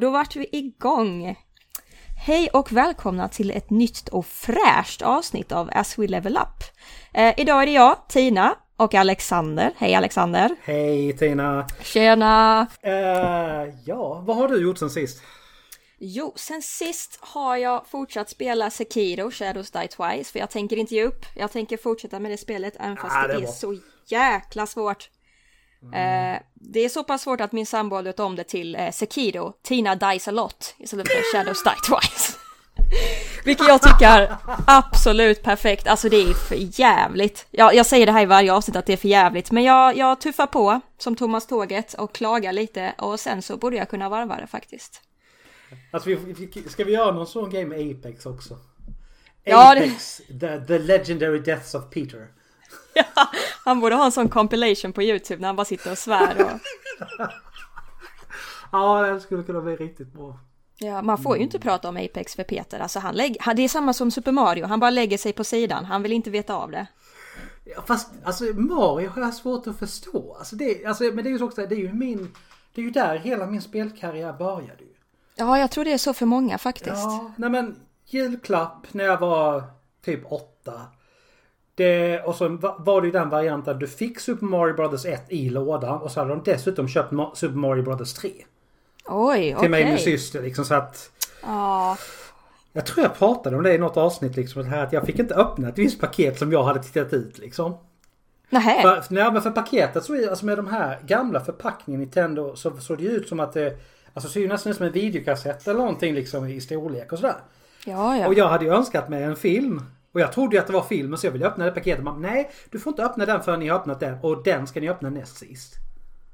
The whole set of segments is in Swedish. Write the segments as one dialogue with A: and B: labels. A: då vart vi igång! Hej och välkomna till ett nytt och fräscht avsnitt av As We Level Up. Eh, idag är det jag, Tina och Alexander. Hej Alexander!
B: Hej Tina!
A: Tjena!
B: Eh, ja, vad har du gjort sen sist?
A: Jo, sen sist har jag fortsatt spela Sekiro Shadows Die Twice för jag tänker inte ge upp. Jag tänker fortsätta med det spelet även fast
B: Ah,
A: det,
B: det
A: är
B: var-
A: så jäkla svårt. Eh, det är så pass svårt att min sambo har döpt om det till eh, Sekiro, Tina Dies A Lot istället för Shadows Die Twice. Vilket jag tycker är absolut perfekt. Alltså det är för jävligt. Jag, jag säger det här i varje avsnitt att det är för jävligt. Men jag, jag tuffar på som Thomas Tåget och klagar lite och sen så borde jag kunna varva det faktiskt.
B: Alltså, vi, vi, ska vi göra någon sån game med Apex också?
A: Ja, det-
B: Apex, the, the legendary deaths of Peter.
A: Ja, han borde ha en sån compilation på YouTube när han bara sitter och svär. Och...
B: Ja, det skulle kunna bli riktigt bra.
A: Ja, man får ju inte prata om Apex för Peter. Alltså han lägger... han- Det är samma som Super Mario, han bara lägger sig på sidan. Han vill inte veta av det.
B: Ja, Fast alltså Mario har jag svårt att förstå. Alltså, det, alltså, men det är ju så också, det är ju min... Det är ju där hela min spelkarriär började ju.
A: Ja, jag tror det är så för många faktiskt.
B: Ja, nej men julklapp när jag var typ åtta. Det, och så va- var det ju den varianten du fick Super Mario Brothers 1 i lådan och så hade de dessutom köpt Ma- Super Mario Brothers 3. Till
A: Oj, okej.
B: mig och min syster liksom så att
A: Ja,
B: jag tror jag pratade om det i något avsnitt liksom det här att jag fick inte öppna ett visst paket som jag hade tittat ut liksom.
A: Äh. nähä.
B: För, nej, men för paketet så är alltså med de här gamla förpackningen Nintendo så såg det ju ut som att det alltså ser ju nästan ut som en videokassett eller någonting liksom i storlek och sådär.
A: Ja,
B: Och
A: ja.
B: jag hade ju önskat mig en film. Och jag trodde ju att det var filmen så jag ville öppna det paketet. Men nej, du får inte öppna den förrän ni har öppnat den. Och den ska ni öppna näst sist.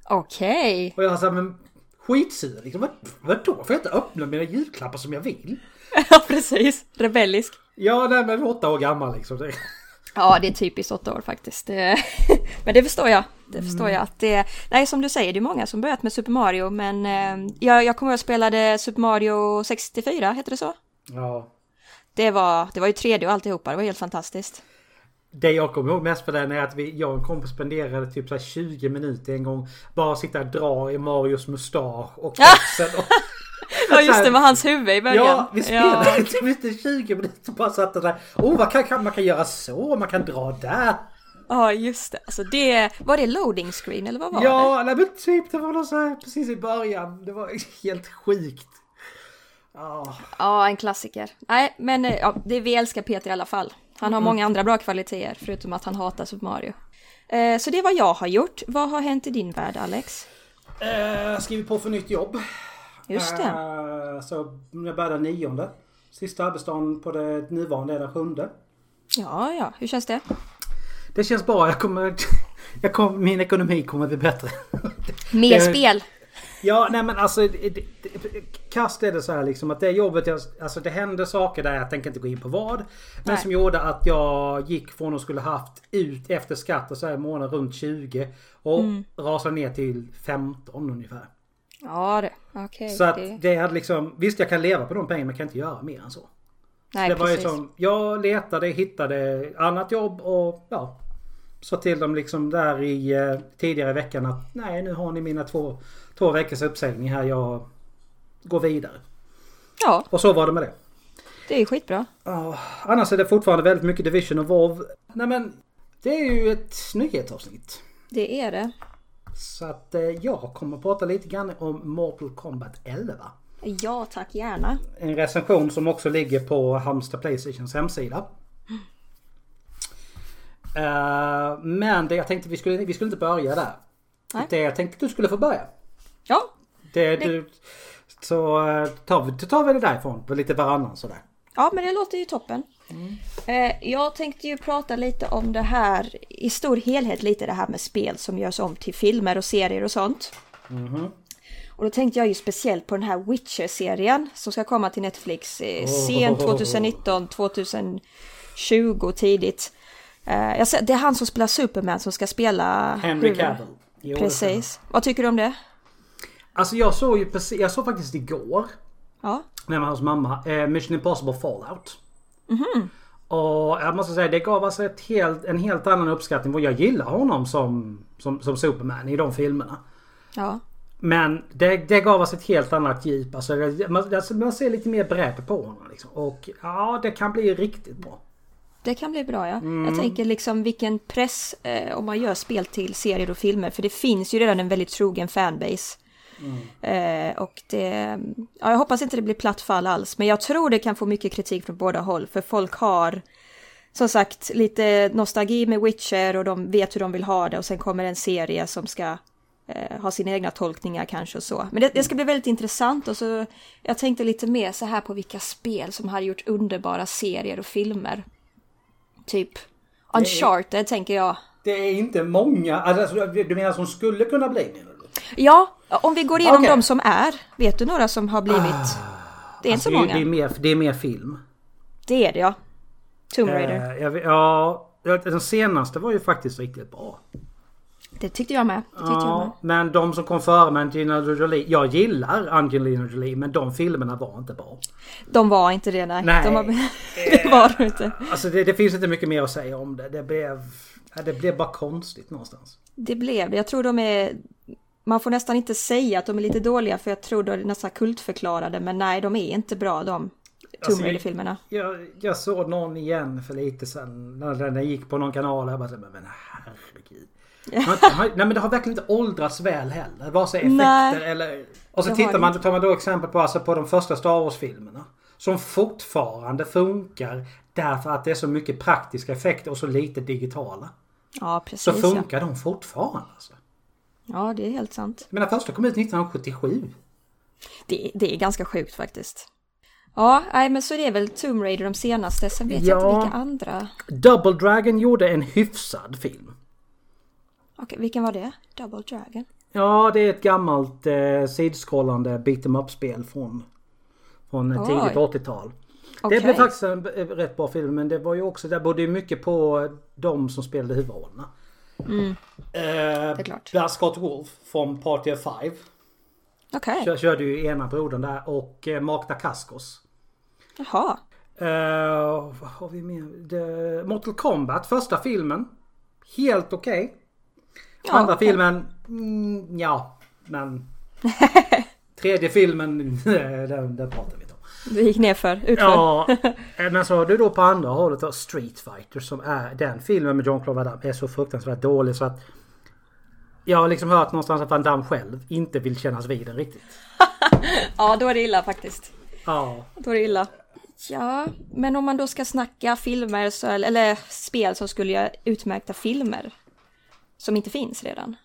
A: Okej.
B: Och jag var såhär, men skitsur liksom. Vad, vadå? Får jag inte öppna mina julklappar som jag vill?
A: Ja, precis. Rebellisk.
B: Ja, nej men jag var åtta år gammal liksom. Det-
A: Ja, det är typiskt åtta år faktiskt. Det- men det förstår jag. Det förstår
B: Mm.
A: jag att det Nej, som du säger, det är många som börjat med Super Mario, men eh, jag, jag kommer ihåg att jag spelade Super Mario 64, heter det så?
B: Ja.
A: Det var, det var ju 3D och alltihopa, det var helt fantastiskt.
B: Det jag kommer ihåg mest för den är att vi, jag och en kompis spenderade typ så här 20 minuter en gång. Bara sitta och dra i Marios mustasch och kepsen. Och,
A: Ja just det, med hans huvud i början.
B: Ja, vi spelade
A: Ja.
B: typ inte 20 minuter bara satt och där. Oh, vad kan, kan, man kan göra så, man kan dra där.
A: Ja, just det. Alltså det, var det loading screen eller vad var det?
B: Ja, nej men typ det var något så här precis i början. Det var helt sjukt. Ja,
A: Ja, en klassiker. Nej, men eh, ja, det vi älskar Peter i alla fall. Han
B: Mm.
A: har många andra bra kvaliteter, förutom att han hatar Super Mario. Eh, Så det är vad jag har gjort. Vad har hänt i din värld, Alex?
B: eh, skrivit på för nytt jobb.
A: Just det.
B: Eh, så jag började nionde. Sista arbetsdagen på det nuvarande är den sjunde.
A: Ja, ja. Hur känns det?
B: Det känns bra. Jag kommer, jag kommer, min ekonomi kommer bli bättre.
A: Mer
B: Det-
A: spel!
B: Ja, nej men alltså det, det, det, kast är det så här liksom att det jobbet, jag, alltså det hände saker där jag tänker inte gå in på vad. Men
A: Nej.
B: som gjorde att jag gick från att skulle haft ut efter skatt och så här i månaden runt 20 och
A: Mm.
B: rasade ner till 15 ungefär.
A: Ja, det. Okej.
B: Så att
A: det-
B: det hade liksom, visst jag kan leva på de pengarna men jag kan inte göra mer än så.
A: Nej,
B: det var ju
A: precis.
B: som, jag letade, hittade annat jobb och ja. Sa till dem liksom där i eh, tidigare i veckan att nej nu har ni mina två, två veckors uppsägning här, jag går vidare.
A: Ja,
B: Och så var det med det.
A: det är ju skitbra.
B: Ja, annars är det fortfarande väldigt mycket Division och WoW. Nej men, det är ju ett nyhetsavsnitt.
A: Det är det.
B: Så att eh, jag kommer prata lite grann om Mortal Kombat 11.
A: Ja, tack gärna.
B: En recension som också ligger på Halmstad Playstations hemsida. Eh, men det jag tänkte vi skulle, vi skulle inte börja där.
A: Nej.
B: Det jag tänkte du skulle få börja.
A: Ja,
B: Det, du, så eh, tar vi, då tar vi det därifrån, på lite varannan sådär.
A: Ja, men det låter ju toppen.
B: Mm.
A: Eh, Jag tänkte ju prata lite om det här i stor helhet, lite det här med spel som görs om till filmer och serier och sånt.
B: Mhm.
A: Och då tänkte jag ju speciellt på den här Witcher-serien som ska komma till Netflix eh,
B: Oh.
A: sent 2019, 2020 tidigt. Eh, Jag ser, det är han som spelar Superman som ska spela
B: Henry
A: huvud-
B: Cavill. Jo, det stämmer.
A: Mm. Precis. Vad tycker du om det?
B: Alltså jag såg ju precis, jag såg faktiskt igår
A: Ja,
B: när jag var hos mamma, eh, Mission Impossible Fallout. Och jag måste säga det gav alltså ett helt, en helt annan uppskattning. Jag gillar honom som, som, som Superman i de filmerna.
A: ja.
B: Men det, det gav oss ett helt annat djup. Alltså, det- man, alltså, man ser lite mer bredd på honom. Liksom. Och ja, det kan bli riktigt bra.
A: Det kan bli bra ja. Jag tänker liksom vilken press eh, om man gör spel till serier och filmer. För det finns ju redan en väldigt trogen fanbase. Eh, och det, ja, jag hoppas inte det blir platt fall alls. Men jag tror det kan få mycket kritik från båda håll. För folk har som sagt lite nostalgi med Witcher och de vet hur de vill ha det. Och sen kommer en serie som ska eh, ha sina egna tolkningar kanske och så. Men det, det ska bli väldigt intressant och så jag tänkte lite mer så här på vilka spel som har gjort underbara serier och filmer. Typ Uncharted tänker jag.
B: Det är inte många. Alltså, du menar som skulle kunna bli? Menar du?
A: Ja, om vi går igenom
B: Okej. Ah,
A: de som är. Vet du några som har blivit? det är inte så
B: Alltså, det, är-
A: många.
B: det, är mer, det är mer film.
A: Det är det ja. Tomb Raider.
B: Eh, jag, vet- ja, den senaste var ju faktiskt riktigt bra.
A: Det tyckte jag med. Det tyckte jag med.
B: Ja, men de som kom före med Angelina Jolie. Jag gillar Angelina Jolie men de filmerna var inte bra.
A: De var inte det nej.
B: Nej. Eh.
A: De var... det var de inte.
B: Alltså det, det finns inte mycket mer att säga om det. Det blev, ja, det blev bara konstigt någonstans.
A: Det blev det. Jag tror de är... Man får nästan inte säga att de är lite dåliga för jag tror de är nästan kultförklarade. Men nej, de är inte bra de Tomb
B: Alltså,
A: Raider-filmerna.
B: Jag, jag såg någon igen för lite sen när den gick på någon kanal. Jag bara så här, men, men herregud. Man, har- nej men det har verkligen inte åldrats väl heller. Vare sig effekter
A: Nej.
B: eller... Och så
A: Det har
B: tittar
A: det
B: man, tar man då exempel på, alltså, på de första Star Wars-filmerna. Som fortfarande funkar därför att det är så mycket praktiska effekter och så lite digitala.
A: Ja,
B: Så
A: precis. Ja.
B: funkar de fortfarande alltså.
A: ja, det är helt sant.
B: Jag menar första kom
A: Mm.
B: ut 1977.
A: Det, det är ganska sjukt faktiskt. Ja, nej, men så det är väl Tomb Raider de senaste. Sen vet jag
B: Ja.
A: inte vilka andra.
B: Double Dragon gjorde en hyfsad film.
A: Okej, vilken var det? Double Dragon?
B: Ja, det är ett gammalt eh, sidskrollande beat em up-spel från, från
A: Oj.
B: tidigt 80-tal.
A: Okej.
B: Det blev faktiskt en eh, rätt bra film men det var ju också, där berodde ju mycket på eh, de som spelade huvudrollerna. Mm.
A: är klart.
B: där Scott Wolf från Party of Five
A: Okej,
B: kö- körde ju ena brodern där och eh, Mark Dacascos.
A: jaha.
B: Eh, vad har vi mer? The Mortal Kombat, första filmen. Helt okej.
A: Ja,
B: Andra
A: okej.
B: filmen, mm, ja, men... Tredje filmen, den, den pratar vi inte om.
A: Det gick ner för, utför.
B: Ja, eh, men så har du då på andra hållet då Street Fighter som är den filmen med John Claude Van Damme är så fruktansvärt dålig så att jag har liksom hört någonstans att Van Damme själv inte vill kännas vid den riktigt.
A: ja, då är det illa faktiskt.
B: Ja,
A: Då är det illa. Ja, men om man då ska snacka filmer så, eller spel så skulle jag utmärkta filmer. Som inte finns redan.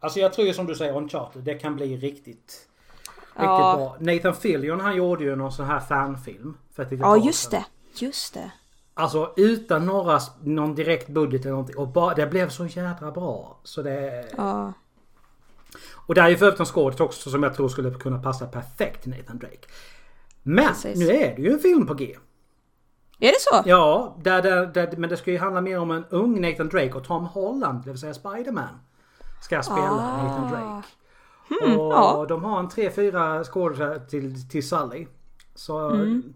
B: alltså jag tror ju som du säger Uncharted, det kan bli riktigt Riktigt
A: Ja.
B: bra. Nathan Fillion han gjorde ju någon sån här fanfilm. För ett litet
A: Ja,
B: tag
A: just
B: sedan.
A: det. Just det.
B: Alltså utan några, någon direkt budget eller någonting. Och bara, det blev så jädra bra. Så det...
A: Ja,
B: Och där är ju för övrigt en skådis också som jag tror skulle kunna passa perfekt till Nathan Drake. Men
A: Precis.
B: nu är det ju en film på G.
A: är det så?
B: Ja, där, där, där, men det ska ju handla mer om en ung Nathan Drake och Tom Holland, det vill säga Spiderman. Ska spela
A: Ah. Hmm,
B: Nathan Drake. och
A: ja.
B: de har en tre, fyra skådespelare till, till Sully. Så,
A: Mm.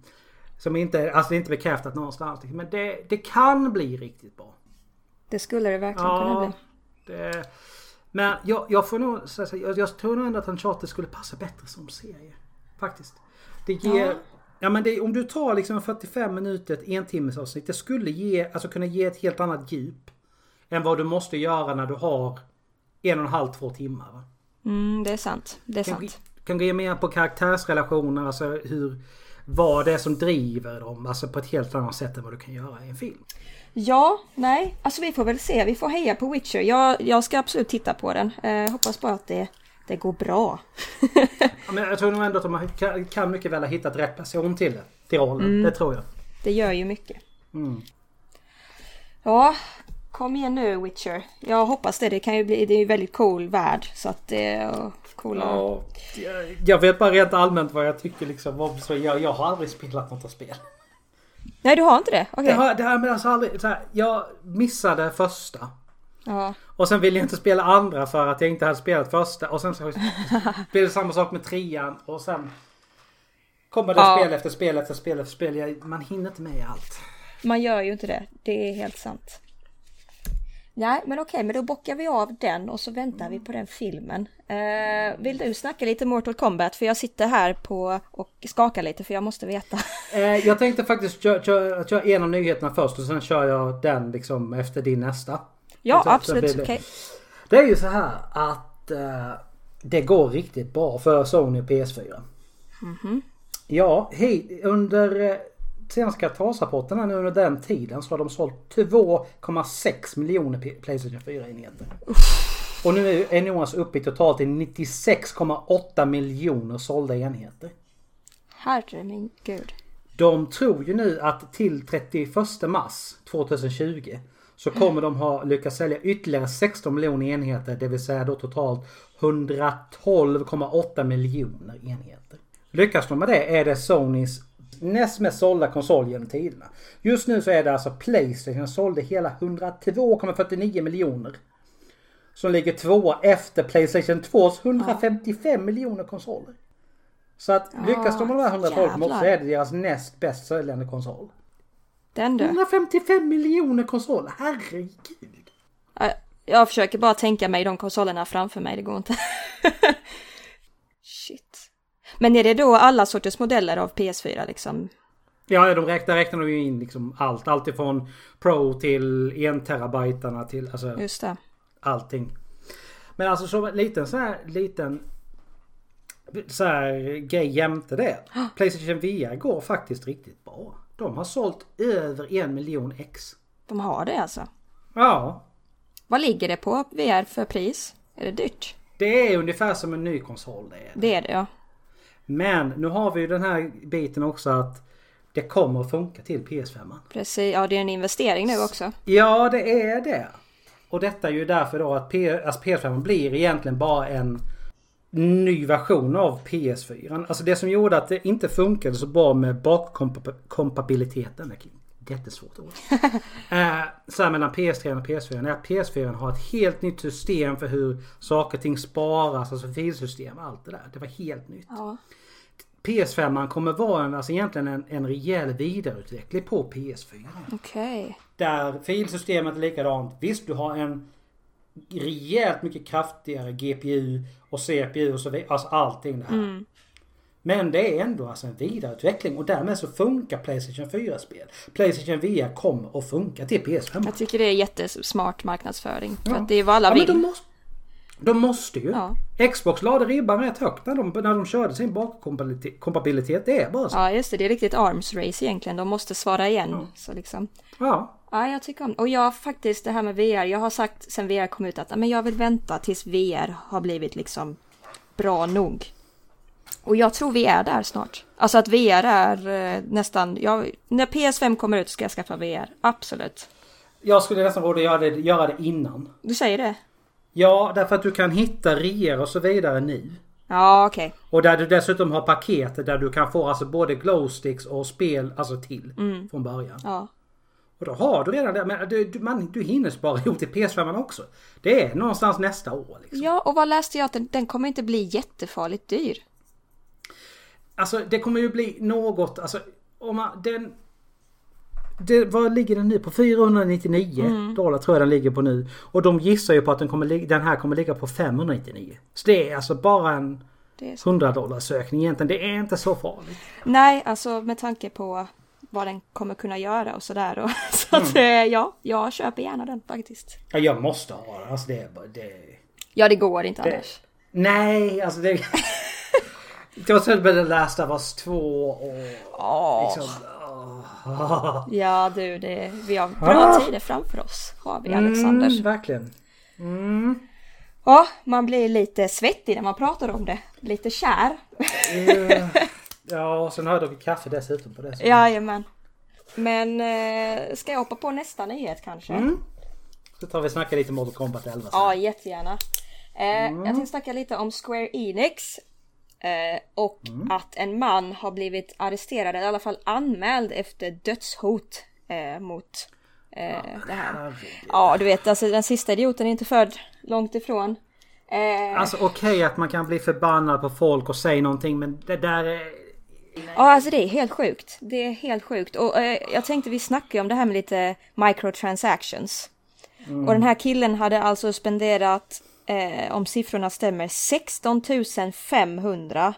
B: Som inte, alltså det är inte bekräftat någonstans. Men det, det kan bli riktigt bra.
A: Det skulle det verkligen kunna
B: Ja,
A: bli.
B: det, men jag, jag får nog så att säga, jag, jag tror nog ändå att Uncharted skulle passa bättre som serie. Faktiskt. Det ger...
A: Ja.
B: Ja. men det, om du tar liksom 45 minuter, ett entimmesavsnitt. Det skulle ge, alltså kunna ge ett helt annat djup. Än vad du måste göra när du har en och en halv, två timmar. Va?
A: Mm, det är sant. Det är
B: Kan,
A: sant.
B: kan gå in mer på karaktärsrelationer, alltså hur... Vad det är som driver dem, alltså på ett helt annat sätt än vad du kan göra i en film.
A: Ja, nej, alltså vi får väl se. Vi får heja på Witcher. Jag, jag ska absolut titta på den. Eh, hoppas bara att det, det går bra.
B: Ja, Men jag tror nog ändå att de har- kan- kan mycket väl ha hittat rätt person till det. Till rollen. Det tror jag.
A: det gör ju mycket. Ja, kom igen nu Witcher. Jag hoppas det. Det kan ju bli, det är ju en väldigt cool värld. Så att det är coola.
B: Jag- Jag vet bara rent allmänt vad jag tycker liksom. Vad- Så jag, jag har aldrig spelat något av spel.
A: Nej, du har inte det? Okej.
B: Det har, det har, men alltså aldrig, så här, jag missade första.
A: Ja.
B: Och sen ville jag inte spela andra för att jag inte hade spelat första. Och sen så blev det samma sak med trean. Och sen kommer det
A: Ja.
B: spel efter spel efter spel efter spel. Jag, man hinner inte med allt.
A: Man gör ju inte det. Det är helt sant. Nej, men okej, men då bockar vi av den och så väntar vi på den filmen. Eh, vill du snacka lite Mortal Kombat? För jag sitter här på och skakar lite för jag måste veta.
B: Eh, jag tänkte faktiskt köra kö, kö, en av nyheterna först och sen kör jag den liksom efter din nästa. Liksom,
A: Ja,
B: Så- så blir
A: absolut.
B: det-
A: Okej.
B: Det är ju så här att eh, det går riktigt bra för Sony och PS4.
A: Mhm.
B: Ja, hej, under eh, senaste kvartalsrapporten här nu under den tiden så har de sålt 2,6 miljoner P- Playstation 4-enheter. Och nu är ju Enoas uppe i totalt i 96,8 miljoner sålda enheter.
A: Herre min gud.
B: De tror ju nu att till 31 mars 2020 så kommer de ha lyckats sälja ytterligare 16 miljoner enheter, det vill säga då totalt 112,8 miljoner enheter. Lyckas de med det är det Sonys näst mest sålda konsol genom tiderna. Just nu så är det alltså Playstation som sålde hela 102,49 miljoner. Som ligger tvåa efter Playstation 2s 155 miljoner konsoler. Så att lyckas de med de här 112 så
A: jävlar.
B: är det deras näst bäst säljande konsol.
A: Den du.
B: 155 miljoner konsoler, herregud.
A: Ja, Eh, Jag försöker bara tänka mig de konsolerna framför mig, det går inte. Shit. Men är det då alla sorters modeller av PS4 liksom?
B: Ja, ja, de räknar, räknar de ju in liksom allt. Allt ifrån Pro till 1 terabytearna till alltså
A: Just det.
B: allting. Men alltså som en liten så här liten så här grej jämte det. Playstation VR går faktiskt riktigt bra. De har sålt över en miljon ex.
A: De har det alltså.
B: Ja,
A: Vad ligger det på VR för pris? Är det dyrt?
B: det är ungefär som en ny konsol det är.
A: Det är det ja.
B: Men nu har vi ju den här biten också att det kommer att funka till PS5.
A: Precis, ja det är en investering nu också.
B: Ja, det är det. Och detta är ju därför då att P- alltså PS5 blir egentligen bara en ny version av PS4. Alltså det som gjorde att det inte funkade så bra med bakkompatibiliteten. det är Jättesvårt ord. eh, så här mellan PS3 och PS4 är att PS4 har ett helt nytt system för hur saker och ting sparas, alltså filsystem och allt det där. Det var helt nytt.
A: Ja.
B: PS5 kommer vara en, alltså egentligen en, en rejäl vidareutveckling på PS4.
A: Okej.
B: Där filsystemet är likadant. Visst, du har en rejält mycket kraftigare GPU och CPU och så vidare. Alltså allting det här.
A: Mm.
B: Men det är ändå alltså en vidareutveckling och därmed så funkar Playstation 4-spel. Playstation VR kommer att funka till PS5.
A: Jag tycker det är jättesmart marknadsföring. För
B: Ja.
A: att det är vad alla
B: Ja, men
A: vill.
B: de, måste, de måste ju.
A: Ja.
B: Xbox lade ribban rätt högt när de, när de körde sin bakkompatibilitet. Det är bara så.
A: Ja just det, det är riktigt arms race egentligen. De måste svara igen. Så liksom.
B: Ja.
A: Ja, jag tycker om Och jag faktiskt, det här med VR. Jag har sagt sen VR kom ut att "Ja, men jag vill vänta tills VR har blivit liksom bra nog. Och jag tror vi är där snart. Alltså att VR är eh, nästan, jag, när PS5 kommer ut ska jag skaffa VR. Absolut.
B: Jag skulle nästan råda att göra det, göra det innan.
A: Du säger det?
B: Ja, därför att du kan hitta reor och så vidare nu.
A: Ja, okej.
B: Och där du dessutom har paket där du kan få alltså både glowsticks och spel alltså till från början.
A: Ja.
B: Och då har du redan det. Men du, du, man, du hinner spara ihop till PS5 också. Det är någonstans nästa år. Liksom.
A: ja, och vad läste jag att den, den kommer inte bli jättefarligt dyr.
B: Alltså det kommer ju bli något, alltså om man, den... Det, vad ligger den nu på? 499 dollar tror jag den ligger på nu. Och de gissar ju på att den, kommer, lig- den här kommer ligga på 599. Så det är alltså bara en
A: Det är så.
B: 100 dollars ökning egentligen. Det är inte så farligt.
A: Nej, alltså med tanke på vad den kommer kunna göra och sådär. Och, så att eh, ja, jag köper gärna den faktiskt.
B: Ja, jag måste ha den. Alltså det är bara... Det...
A: Ja, det går inte annars.
B: Nej, alltså det... det var så med The Last of Us 2 och...
A: Ja,
B: Liksom, åh.
A: ja du, det, vi har bra
B: Ah.
A: tider framför oss. Har vi Alexander.
B: Mm, verkligen.
A: Ja, man blir lite svettig när man pratar om det. Lite kär.
B: Eh, ja, och sen har jag druckit kaffe dessutom på det. Så.
A: Jajamän. Men eh, ska jag hoppa på nästa nyhet kanske?
B: så tar vi och snackar lite Mortal Kombat 11 sen.
A: Ja, jättegärna. Eh, Jag tänkte snacka lite om Square Enix. Eh, och att en man har blivit arresterad, eller i alla fall anmäld efter dödshot eh, mot eh, det här.
B: Herregud.
A: Ja, du vet, alltså den sista idioten är inte född långt ifrån. Eh,
B: Alltså okej att man kan bli förbannad på folk och säga någonting men det där är...
A: Ja, alltså det är helt sjukt. Det är helt sjukt. Och eh, jag tänkte vi snackar ju om det här med lite microtransactions. Och den här killen hade alltså spenderat, eh, om siffrorna stämmer, 16 500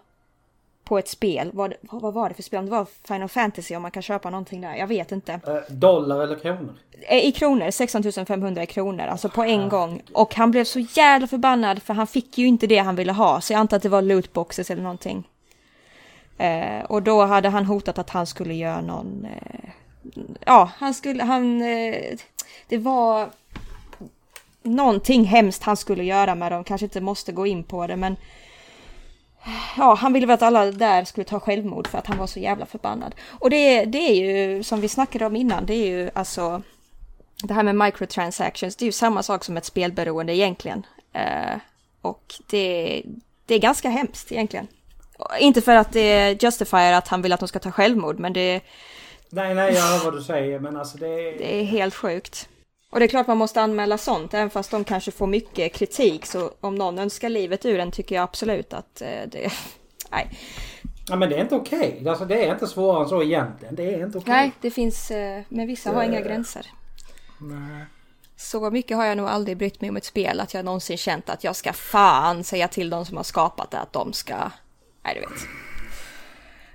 A: på ett spel. Vad, vad vad var det för spel? Om det var Final Fantasy, om man kan köpa någonting där. Jag vet inte.
B: Eh, Dollar eller kronor?
A: Eh, I kronor, 16 500 i kronor, alltså på en gång. Och han blev så jävla förbannad för han fick ju inte det han ville ha. Så jag antar att det var lootboxes eller någonting. Eh, och då hade han hotat att han skulle göra någon... Eh, ja, han skulle... Han... Eh, det var... Någonting hemskt han skulle göra med dem, kanske inte måste gå in på det men... Ja, han ville väl att alla där skulle ta självmord för att han var så jävla förbannad. Och det, det är ju, som vi snackade om innan, det är ju alltså... Det här med microtransactions, det är ju samma sak som ett spelberoende egentligen. Eh, och det, det är ganska hemskt egentligen. Och Inte för att det justifierar att han vill att de ska ta självmord, men det,
B: Nej, nej, jag hör vad du säger men alltså det...
A: det är helt sjukt. Och det är klart man måste anmäla sånt, även fast de kanske får mycket kritik. Så om någon önskar livet ur den tycker jag absolut att eh, det... Nej.
B: Ja, men det är inte okej. Alltså, det är inte svårare än så egentligen. Det är inte okej.
A: Nej, det finns... eh, Men vissa har inga gränser.
B: Nej.
A: Så mycket har jag nog aldrig brytt mig om ett spel att jag någonsin känt att jag ska fan säga till de som har skapat det att de ska... Nej, du vet.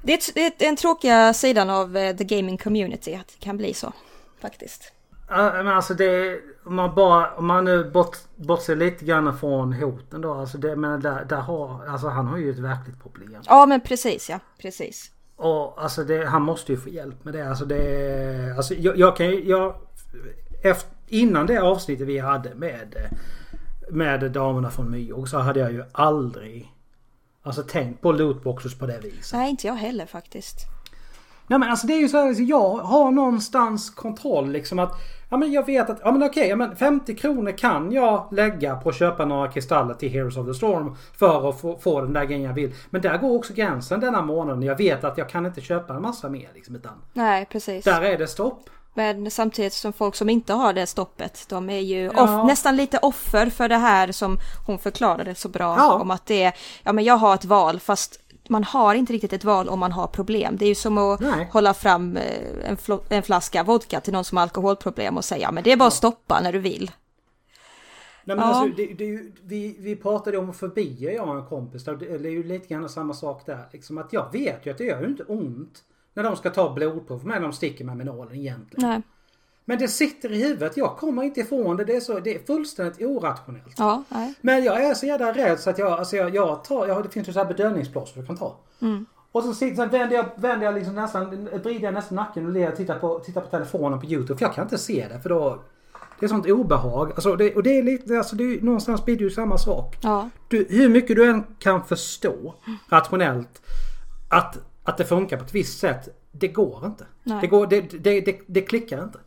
A: Det är, ett, det är ett- den tråkiga sidan av eh, the gaming community att det kan bli så. Faktiskt.
B: Ja, men alltså det, om man bara, om man nu bort, bortser lite grann från hoten då. Alltså det, men där, där har, alltså han har ju ett verkligt problem.
A: Ja, men precis ja. Precis.
B: Och alltså det, han måste ju få hjälp med det. Alltså det, alltså jag, jag kan ju, jag, efter, innan det avsnittet vi hade med, med damerna från Myog så hade jag ju aldrig, alltså tänkt på lootboxes på det viset.
A: Nej, inte jag heller faktiskt.
B: Nej men alltså det är ju så här, alltså, jag har någonstans kontroll liksom att Ja men jag vet att, ja men okej, ja, men 50 kronor kan jag lägga på att köpa några kristaller till Heroes of the Storm för att få, få den där grejen jag vill. Men där går också gränsen denna månaden. Jag vet att jag kan inte köpa en massa mer liksom utan
A: Nej, precis.
B: där är det stopp.
A: Men samtidigt som folk som inte har det stoppet, de är ju
B: Ja.
A: off, nästan lite offer för det här som hon förklarade så bra
B: Ja.
A: om att det är, ja men jag har ett val fast man har inte riktigt ett val om man har problem. Det är ju som att
B: Nej.
A: hålla fram eh, en, flo- en flaska vodka till någon som har alkoholproblem och säga, ja men det är bara att stoppa när du vill.
B: Nej, men
A: Ja.
B: alltså, det, det, är ju- vi, vi pratade om fobier jag och en kompis. där. Det är ju lite grann samma sak där. Liksom, att jag vet ju att det gör ju inte ont när de ska ta blodprov med när de sticker mig med nålen egentligen.
A: Nej.
B: Men det sitter i huvudet. Jag kommer inte ifrån det. Det är, så, det är fullständigt orationellt.
A: Ja, nej.
B: Men jag är så jävla rädd så att jag, alltså jag, jag tar, jag, har- det finns ju så här bedövningsplåster du kan ta. Och så sitter, sen vänder jag, vänder jag liksom nästan, vrider jag nästan nacken och ler och tittar på, tittar på telefonen på YouTube. För jag kan inte se det för då, det är sånt obehag. Alltså det, och det är lite, alltså det är, ju- någonstans blir det ju samma sak.
A: Ja.
B: Du, hur mycket du än kan förstå rationellt att, att det funkar på ett visst sätt. Det går inte.
A: Nej.
B: Det, går, det, det, det, det klickar inte.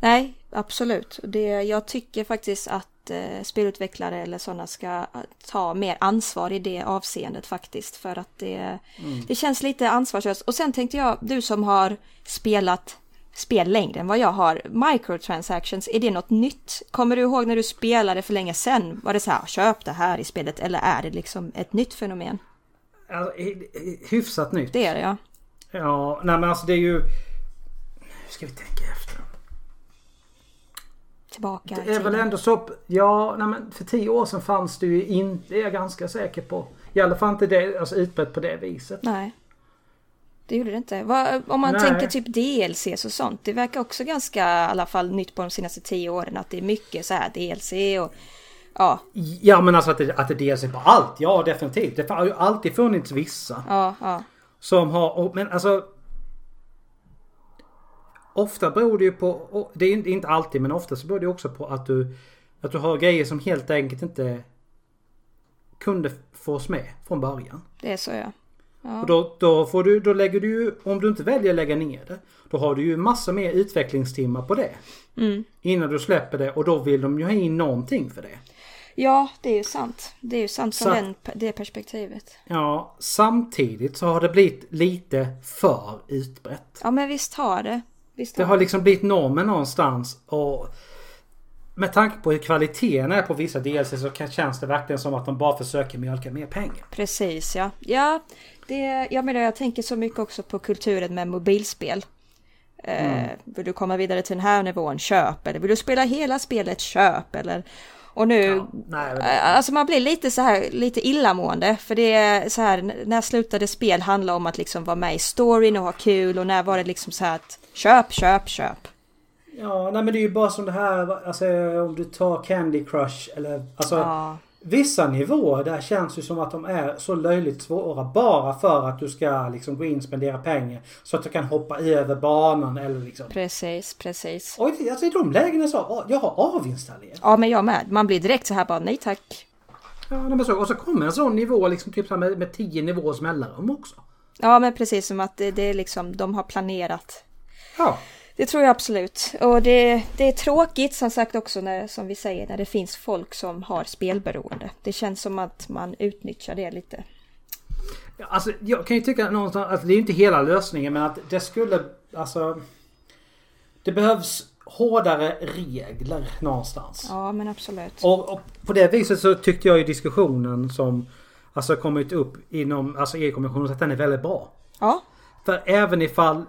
A: Nej, absolut. Det, jag tycker faktiskt att eh, spelutvecklare eller sådana ska eh, ta mer ansvar i det avseendet faktiskt. För att det,
B: Mm.
A: det känns lite ansvarslöst. Och sen tänkte jag, du som har spelat spel längre än vad jag har, microtransactions, är det något nytt? Kommer du ihåg när du spelade för länge sedan? Var det så här, "Ah, köp det här i spelet eller är det liksom ett nytt fenomen?
B: Alltså, hy- hy- hyfsat nytt.
A: Det är det ja.
B: Ja, nej men alltså det är ju... Nu ska vi tänka efter.
A: Tillbaka i
B: Det är väl
A: tiden.
B: ändå så... Ja, nej men för tio år sedan fanns det ju inte, det är jag ganska säker på. I alla fall inte det, alltså utbrett på det viset.
A: Nej. Det gjorde det inte. Vad- om man
B: Nej.
A: tänker typ DLCs och sånt. Det verkar också ganska i alla fall nytt på de senaste tio åren. Att det är mycket så här DLC och ja,
B: Ja men alltså att det, att det delar sig på allt. Ja definitivt. Det har ju alltid funnits vissa.
A: ja, ja.
B: Som har, och, men alltså... Ofta beror det ju på, och det är ju inte alltid men ofta så beror det ju också på att du... Att du har grejer som helt enkelt inte kunde fås med från början.
A: Det är så ja.
B: Och då, då, får du, då lägger du ju, om du inte väljer att lägga ner det, då har du ju massor mer utvecklingstimmar på det. Innan du släpper det och då vill de ju ha in någonting för det.
A: Ja, det är ju sant. Det är ju sant
B: Så-
A: från den, det perspektivet.
B: Ja, samtidigt så har det blivit lite för utbrett.
A: Ja, men visst har det. Visst
B: Det
A: har
B: har liksom blivit normen någonstans och med tanke på hur kvaliteten är på vissa DLC så kan- känns det verkligen som att de bara försöker mjölka mer pengar.
A: Precis ja. Ja, det, jag menar jag tänker så mycket också på kulturen med mobilspel. Eh,
B: Mm.
A: vill du komma vidare till den här nivån? Köp! Eller vill du spela hela spelet? Köp! Eller... Och nu...
B: Ja, nej, men-
A: Eh, Alltså man blir lite så här, lite illamående. För det är så här, n- när slutade spel handla om att liksom vara med i storyn och ha kul och när var det liksom så här att köp, köp, köp.
B: Ja, nej men det är ju bara som det här, va- alltså om du tar Candy Crush eller alltså
A: Ja.
B: vissa nivåer där känns ju som att de är så löjligt svåra bara för att du ska liksom gå in och spendera pengar så att du kan hoppa över banan eller liksom.
A: Precis, precis.
B: Och i- alltså i de lägena så, har- jag har avinstallerat.
A: Ja, men jag med. Man blir direkt så här bara nej tack.
B: Ja, nej, men så, och så kommer en sån nivå liksom typ så här med, med tio nivåers mellanrum också.
A: Ja, men precis som att det, det är liksom, de har planerat.
B: Ja.
A: Det tror jag absolut. Och det, det är tråkigt som sagt också när, som vi säger, när det finns folk som har spelberoende. Det känns som att man utnyttjar det lite.
B: Ja, Alltså, jag kan ju tycka någonstans att det är inte hela lösningen men att det skulle, alltså. Det behövs hårdare regler någonstans.
A: Ja, men absolut.
B: Och, och på det viset så tyckte jag ju diskussionen som alltså kommit upp inom alltså EU-kommissionen att den är väldigt bra.
A: Ja,
B: För även ifall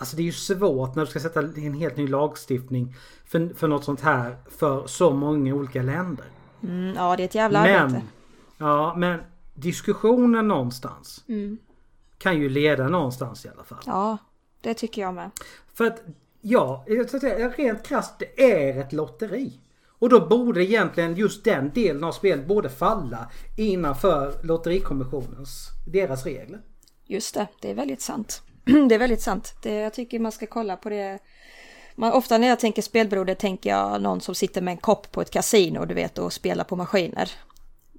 B: Alltså det är ju svårt när du ska sätta en helt ny lagstiftning för, för något sånt här för så många olika länder.
A: mm, ja det är ett jävla
B: Men,
A: arbete.
B: ja, men diskussionen någonstans
A: Mm.
B: kan ju leda någonstans i alla fall.
A: Ja, det tycker jag med.
B: För att, ja, jag ska säga, rent krasst, det är ett lotteri. Och då borde egentligen just den delen av spelet borde falla innanför Lotterikommissionens, deras regler.
A: Just det, det är väldigt sant. det är väldigt sant. Det, jag tycker man ska kolla på det. Man, ofta när jag tänker spelberoende tänker jag någon som sitter med en kopp på ett kasino, du vet, och spelar på maskiner.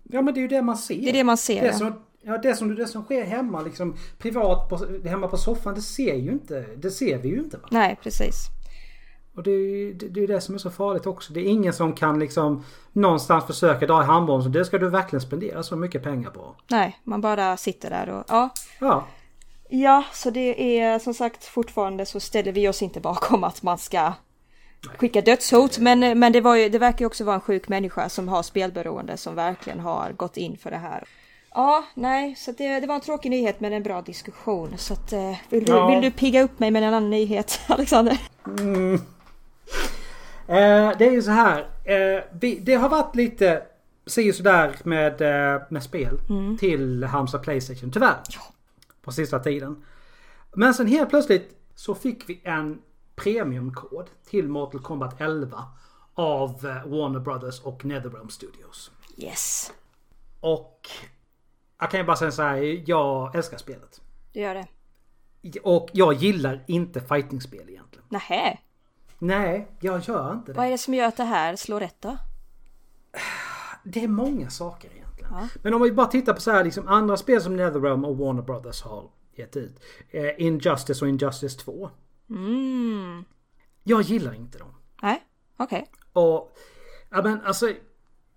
B: Ja men det är ju det man ser.
A: Det är det man ser,
B: Det
A: ja.
B: som, ja, det som, det som sker hemma liksom privat, på, hemma på soffan, det ser ju inte, det ser vi ju inte. Va?
A: Nej, precis.
B: Och det är ju det, det, är ju det som är så farligt också. Det är ingen som kan liksom någonstans försöka dra i handbollen så det ska du verkligen spendera så mycket pengar på.
A: Nej, man bara sitter där och ja.
B: Ja,
A: Ja, så det är som sagt fortfarande så ställer vi oss inte bakom att man ska skicka dödshot. Men, men det, var ju, det verkar ju också vara en sjuk människa som har spelberoende som verkligen har gått in för det här. Ja, nej, så det, det var en tråkig nyhet men en bra diskussion. Så att, eh, vill, du,
B: Ja.
A: vill du pigga upp mig med en annan nyhet, Alexander?
B: Eh, det är ju så här. Eh, vi, det har varit lite si och sådär med, eh, med spel till Halmstad Playstation, tyvärr. På sista tiden. Men sen helt plötsligt så fick vi en premiumkod till Mortal Kombat 11 av eh, Warner Brothers och Netherrealm Studios.
A: Yes,
B: Och jag kan ju bara säga så här, jag älskar spelet.
A: du gör det.
B: Och jag gillar inte fightingspel egentligen.
A: Nähä,
B: Nej, jag gör inte det.
A: vad är det som gör att det här slår rätt då?
B: Det är många saker egentligen. Men om vi bara tittar på så här, liksom andra spel som Netherrealm och Warner Brothers har gett ut. Eh, Injustice och Injustice 2.
A: Mm.
B: Jag gillar inte dem.
A: Nej, okej.
B: Och, ja men alltså.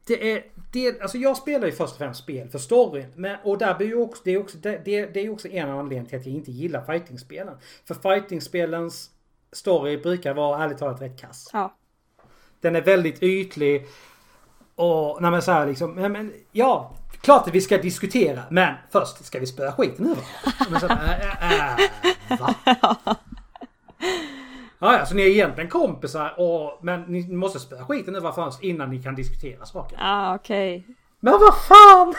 B: Det är, det, alltså jag spelar ju först och främst spel för storyn. Men, och där blir ju också, det är också, det, det, det är också en anledning till att jag inte gillar fightingspelen. För fightingspelens story brukar vara ärligt talat rätt kass.
A: Ja,
B: Den är väldigt ytlig. Och nej men så här liksom. Nej, men, ja, klart att vi ska diskutera. Men först ska vi spöa skiten nu men så, här, äh, äh, äh, va? Ja, ja, så ni är egentligen kompisar och, men ni måste spöa skiten nu varför först innan ni kan diskutera saker.
A: ah, okej.
B: Men vad fan!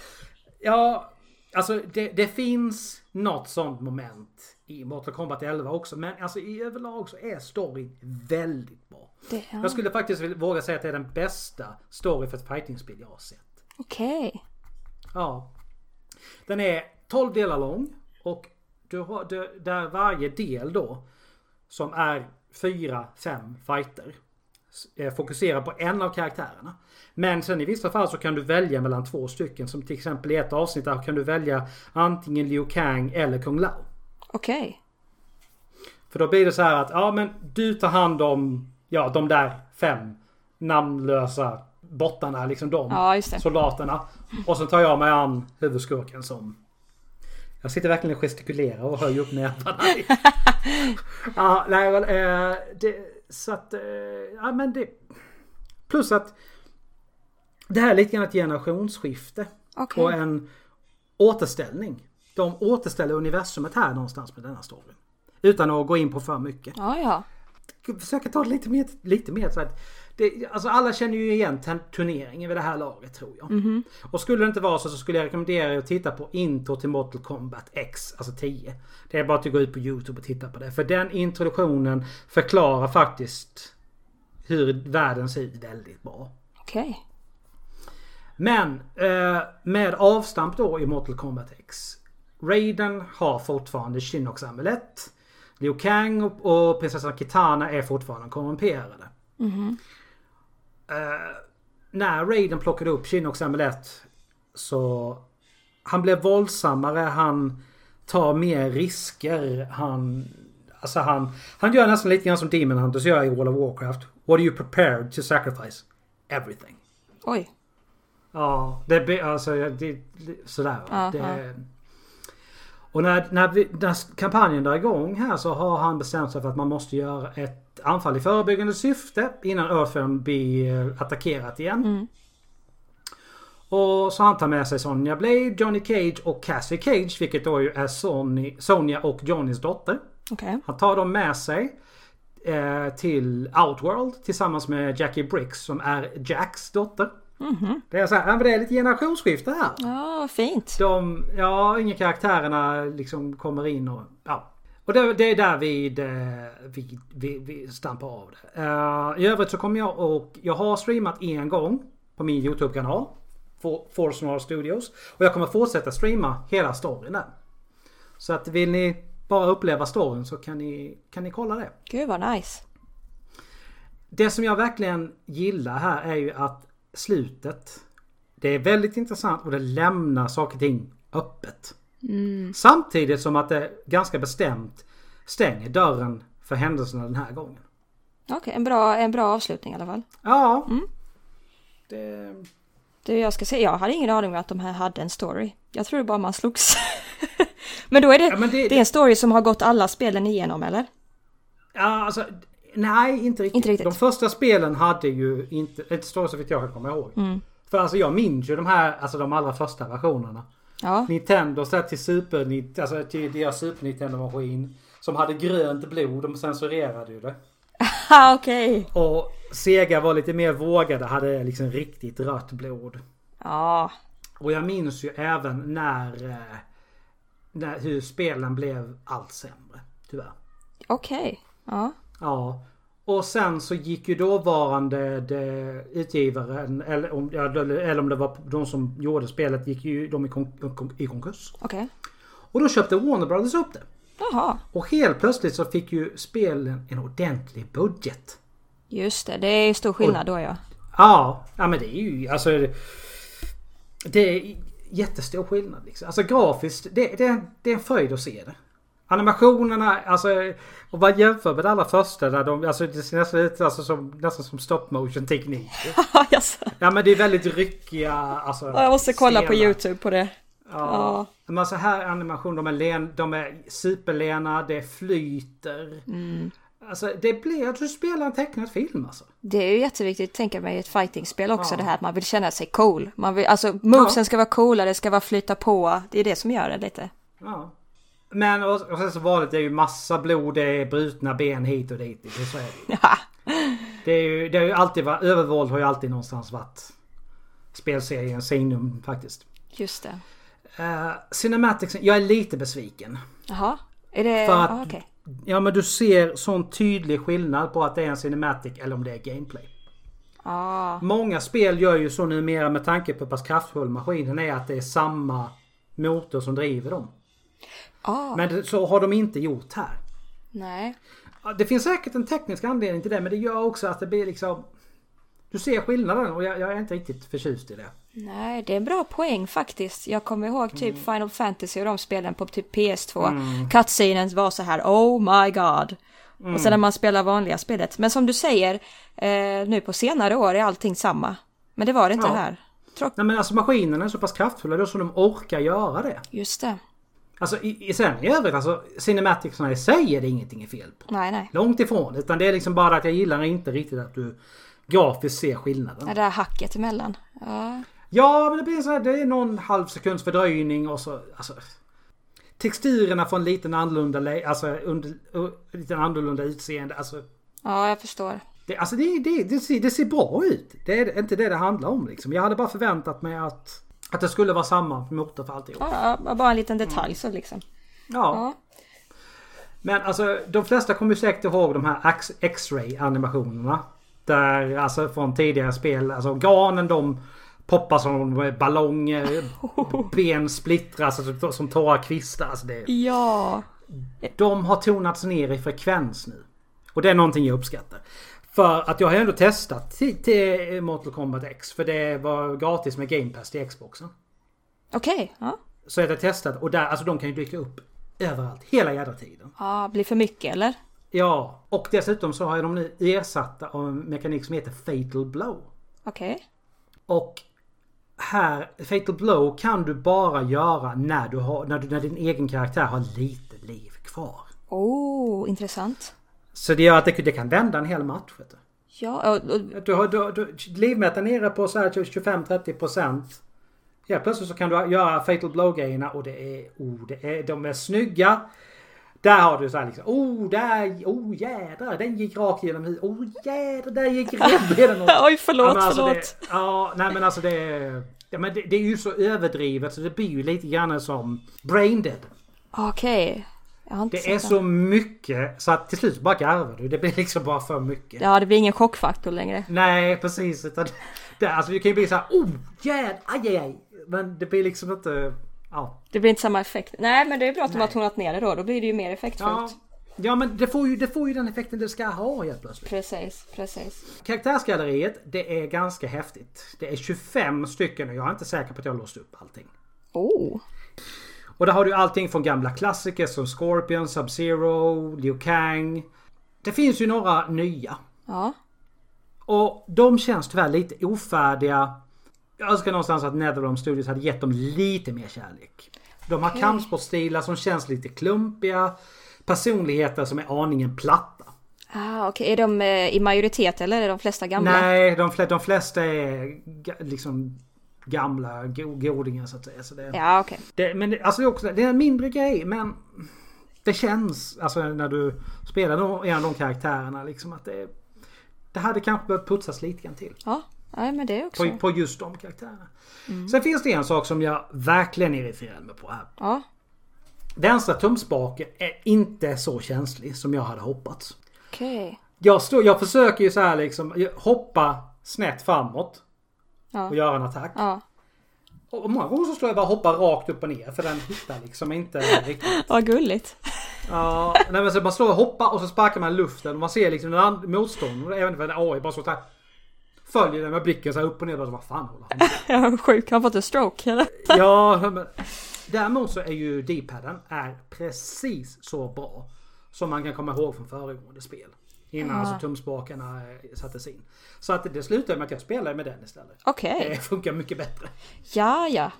B: ja, alltså det, det finns något sånt moment i Mortal Kombat 11 också. Men alltså i överlag så är storyn väldigt bra.
A: Det- ja.
B: Jag skulle faktiskt vilja- våga säga att det är den bästa story för ett fightingspel jag har sett.
A: Okej.
B: Ja. Den är 12 delar lång och du har, du, där varje del då som är fyra, fem fighter s- eh, fokuserar på en av karaktärerna. Men sen i vissa fall så kan du välja mellan två stycken som till exempel i ett avsnitt där kan du välja antingen Liu Kang eller Kung Lao.
A: Okej.
B: För då blir det så här att ja men du tar hand om ja de där fem namnlösa bottarna liksom de
A: Ja, just det.
B: soldaterna. Och så tar jag mig an huvudskurken som jag sitter verkligen och gestikulerar och höjer upp nävarna. ja, nej, men, eh, det, så att, eh, ja men det. Plus att det här är lite grann ett generationsskifte.
A: Okej.
B: Och en återställning. De återställer universumet här någonstans med denna storyn. Utan att gå in på för mycket.
A: Ja, ja.
B: Försöka ta det lite mer, lite mer så att det, alltså alla känner ju igen ten- turneringen vid det här laget tror jag. Och skulle det inte vara så, så skulle jag rekommendera er att titta på intro till Mortal Kombat X, alltså 10. Det är bara att gå ut på Youtube och titta på det. För den introduktionen förklarar faktiskt hur världen ser ut väldigt bra.
A: Okej.
B: Men eh, med avstamp då i Mortal Kombat X. Raiden har fortfarande Shinnox amulett. Liu Kang och, och prinsessan Kitana är fortfarande korrumperade. Eh, när Raiden plockade upp Shinnox amulett så han blev våldsammare, han tar mer risker, han... Alltså han, han gör nästan lite grann som Demon Hunters gör i World of Warcraft. What are you prepared to sacrifice? Everything.
A: Oj.
B: Ja, det blir alltså det, det, sådär.
A: Ja,
B: va.
A: ja.
B: det, och när, när, vi, när kampanjen drar igång här så har han bestämt sig för att man måste göra ett anfall i förebyggande syfte innan Earthworm blir eh, attackerat igen.
A: Mm.
B: Och så han tar med sig Sonja Blade, Johnny Cage och Cassie Cage vilket då ju är Sony, Sonja och Johnnys dotter.
A: Okej.
B: Han tar dem med sig eh, till Outworld tillsammans med Jackie Bricks som är Jacks dotter. Det är så här, ja, men det är lite generationsskifte här.
A: Ja, vad fint.
B: De, ja, inga karaktärerna liksom kommer in och ja. Och det, det är där vi, det, vi, vi, vi stampar av det. Eh, I övrigt så kommer jag och jag har streamat en gång på min YouTube-kanal. For, For Snarl Studios. Och jag kommer fortsätta streama hela storyn där. Så att vill ni bara uppleva storyn så kan ni, kan ni kolla det.
A: Gud vad nice.
B: Det som jag verkligen gillar här är ju att slutet. Det är väldigt intressant och det lämnar saker och ting öppet.
A: Mm.
B: Samtidigt som att det ganska bestämt stänger dörren för händelserna den här gången.
A: Okej, en, bra, en bra avslutning i alla fall.
B: Ja.
A: Mm.
B: Det...
A: Du, jag ska säga, jag hade ingen aning om att de här hade en story. Jag trodde bara man slogs. men då är det,
B: Ja, men
A: det,
B: det-
A: är en story som har gått alla spelen igenom eller?
B: Ja, alltså, nej, inte riktigt.
A: Inte riktigt.
B: De första spelen hade ju inte, ett story så vitt jag kan komma ihåg.
A: Mm.
B: För alltså jag minns ju de här, alltså de allra första versionerna.
A: Ja,
B: Nintendo så här till Super, Nit- alltså till deras Super Nintendo-maskin. Som hade grönt blod, de censurerade ju det.
A: ah, okej.
B: Och Sega var lite mer vågade, hade liksom riktigt rött blod.
A: Ja,
B: Och jag minns ju även när, eh, när hur spelen blev allt sämre. Tyvärr.
A: okej. Ja,
B: Ja. Och sen så gick ju dåvarande de, utgivaren, eller om, ja, eller om det var de som gjorde spelet, gick ju de i, kon- i konkurs.
A: okej.
B: Och då köpte Warner Brothers upp det.
A: Jaha,
B: Och helt plötsligt så fick ju spelen en ordentlig budget.
A: just det. Det är ju stor skillnad då ja.
B: Ja, ja men det är ju alltså... Det är jättestor skillnad liksom. Alltså grafiskt, det, det, det är en fröjd att se det. Animationerna, alltså... Om man jämför med det allra första där de, alltså det ser nästan ut alltså, som, nästan som stop motion teknik.
A: Jaså?
B: Ja men det är väldigt ryckiga, alltså...
A: Ja, jag måste kolla på
B: scener.
A: Youtube på det.
B: Ja. Men så här animation, de är, len, de är superlena, det flyter. Alltså det blir att du spelar en tecknad film alltså.
A: Det är ju jätteviktigt, tänker mig, i ett fightingspel också det här att man vill känna sig cool. Man vill, alltså movesen ska vara coola, det ska vara flyta på. Det är det som gör det lite.
B: Ja. Men och, och sen så vanligt, det är ju massa blod, det är brutna ben hit och dit. Det, så är det. ju.
A: Ja.
B: det, är ju, det har ju alltid varit, övervåld har ju alltid någonstans varit spelseriens signum faktiskt.
A: Just det.
B: Uh, Cinematics, jag är lite besviken.
A: Jaha, är det...
B: För att-
A: ja, okej.
B: Ja men du ser sån tydlig skillnad på att det är en cinematic eller om det är gameplay.
A: Ja,
B: Många spel gör ju så numera med tanke på hur pass kraftfull maskinen är att det är samma motor som driver dem.
A: ja,
B: Men det- så har de inte gjort här.
A: nej.
B: Ja, Det finns säkert en teknisk anledning till det men det gör också att det blir liksom... Du ser skillnaden och jag, jag är inte riktigt förtjust i det.
A: Nej, det är en bra poäng faktiskt. Jag kommer ihåg typ Final Fantasy och de spelen på typ PS2. Mm. Cutscenen var så här, oh my god. Och sen när man spelar vanliga spelet. Men som du säger, eh, nu på senare år är allting samma. Men det var det inte
B: Ja.
A: här. Tråk...
B: Nej men alltså maskinerna är så pass kraftfulla då som de orkar göra det.
A: Just det.
B: Alltså i, i, sen i övrigt alltså cinematicsna i sig är det ingenting i fel på.
A: Nej, nej.
B: Långt ifrån. Utan det är liksom bara att jag gillar inte riktigt att du grafiskt ser skillnaden.
A: Det där hacket emellan. Ja,
B: Ja, men det blir så här, det är någon halv sekunds fördröjning och så... Alltså, texturerna får en liten annorlunda, le- alltså, under, uh, lite annorlunda utseende. Alltså,
A: Ja, jag förstår.
B: det, alltså det, det, det, ser, det ser bra ut. Det är inte det det handlar om liksom. Jag hade bara förväntat mig att, att det skulle vara samma motor för alltihop.
A: Ja, ja, bara en liten detalj så liksom.
B: Ja.
A: Ja,
B: Men alltså de flesta kommer ju säkert ihåg de här X- X-ray animationerna. Där alltså från tidigare spel, alltså organen de poppar som ballonger, ben splittras alltså, som torra kvistar. Alltså, det,
A: ja.
B: de har tonats ner i frekvens nu. Och det är någonting jag uppskattar. För att jag har ändå testat till, till Mortal Kombat X. För det var gratis med Game Pass till Xboxen.
A: okej. ja.
B: Så jag har testat och där, alltså de kan ju dyka upp överallt hela jädra tiden.
A: ja, blir för mycket eller?
B: Ja, och dessutom så har jag dem nu ersatta av en mekanik som heter Fatal Blow.
A: Okej.
B: Och här, Fatal Blow kan du bara göra när, du har, när, du, när din egen karaktär har lite liv kvar.
A: Oh, intressant.
B: Så det gör att det, det kan vända en hel match. Vet du.
A: Ja, och, och,
B: Du har, du, du, livmätaren är nere på så här 25-30 procent. Ja, plötsligt så kan du göra fatal blow-grejerna och det är, oh, det är, de är snygga. Där har du så här liksom, oh där, oh jädrar, den gick rakt genom huvudet. Oh jädrar, där gick rakt genom huvudet.
A: Oj, förlåt,
B: men alltså,
A: förlåt.
B: Det, ja, nej men alltså det, är- ja, men det, det är ju så överdrivet så det blir ju lite grann som brain dead.
A: okej. Jag har inte
B: Det
A: sett
B: är
A: den.
B: så mycket så att till slut bara garvar du. Det blir liksom bara för mycket.
A: Ja, det blir ingen chockfaktor längre.
B: Nej, precis. Utan det, alltså, det kan ju bli så här, oh, jävlar, aj, aj, aj. Men det blir liksom inte... Ja.
A: Det blir inte samma effekt. Nej, men det är bra att de har tonat ner det då. Då blir det ju mer
B: Ja,
A: effektfullt.
B: ja men det får, ju, det får ju den effekten det ska ha helt plötsligt.
A: Precis, precis.
B: Karaktärsgalleriet, det är ganska häftigt. Det är 25 stycken och jag är inte säker på att jag låst upp allting.
A: Oh,
B: Och där har du allting från gamla klassiker som Scorpion, Sub-Zero, Liu Kang. Det finns ju några nya.
A: ja.
B: Och de känns tyvärr lite ofärdiga. Jag önskar någonstans att Netherrealm Studios hade gett dem lite mer kärlek. De har kampsportstilar som känns lite klumpiga. Personligheter som är aningen platta.
A: Ah, okej. Är de eh, i majoritet eller är de flesta gamla?
B: Nej, de, fle- de flesta är ga- liksom gamla go- godingar så att säga. Så det,
A: Ja, okej.
B: det, men det, alltså det, är också, det är en mindre grej men det känns alltså när du spelar de- en av de karaktärerna liksom att det, det hade kanske behövt putsas lite grann till.
A: Ja, nej, men det också. Mm.
B: På, på just de karaktärerna. Sen finns det en sak som jag verkligen irriterar mig på här.
A: Ja,
B: Vänstra tumspaken är inte så känslig som jag hade hoppats.
A: okej.
B: Jag, står, jag försöker ju så här liksom hoppa snett framåt och
A: Ja,
B: göra en attack.
A: ja.
B: Och många gånger så står jag bara och hoppar rakt upp och ner för den hittar liksom inte riktigt.
A: Vad gulligt.
B: Ja, nej, men så man står och hoppar och så sparkar man i luften och man ser liksom den and- motståndaren, även för en AI, bara så här. Följer den med blicken så här upp och ner. Bara, så, vad fan håller han på
A: Jag är sjuk. Har han fått en stroke eller?
B: Ja, men däremot så är ju D-paden är precis så bra som man kan komma ihåg från föregående spel. Innan alltså tumspakarna eh, sattes in. Så att det slutade med att jag spelade med den istället.
A: Okej.
B: Det funkar mycket bättre.
A: Ja, ja.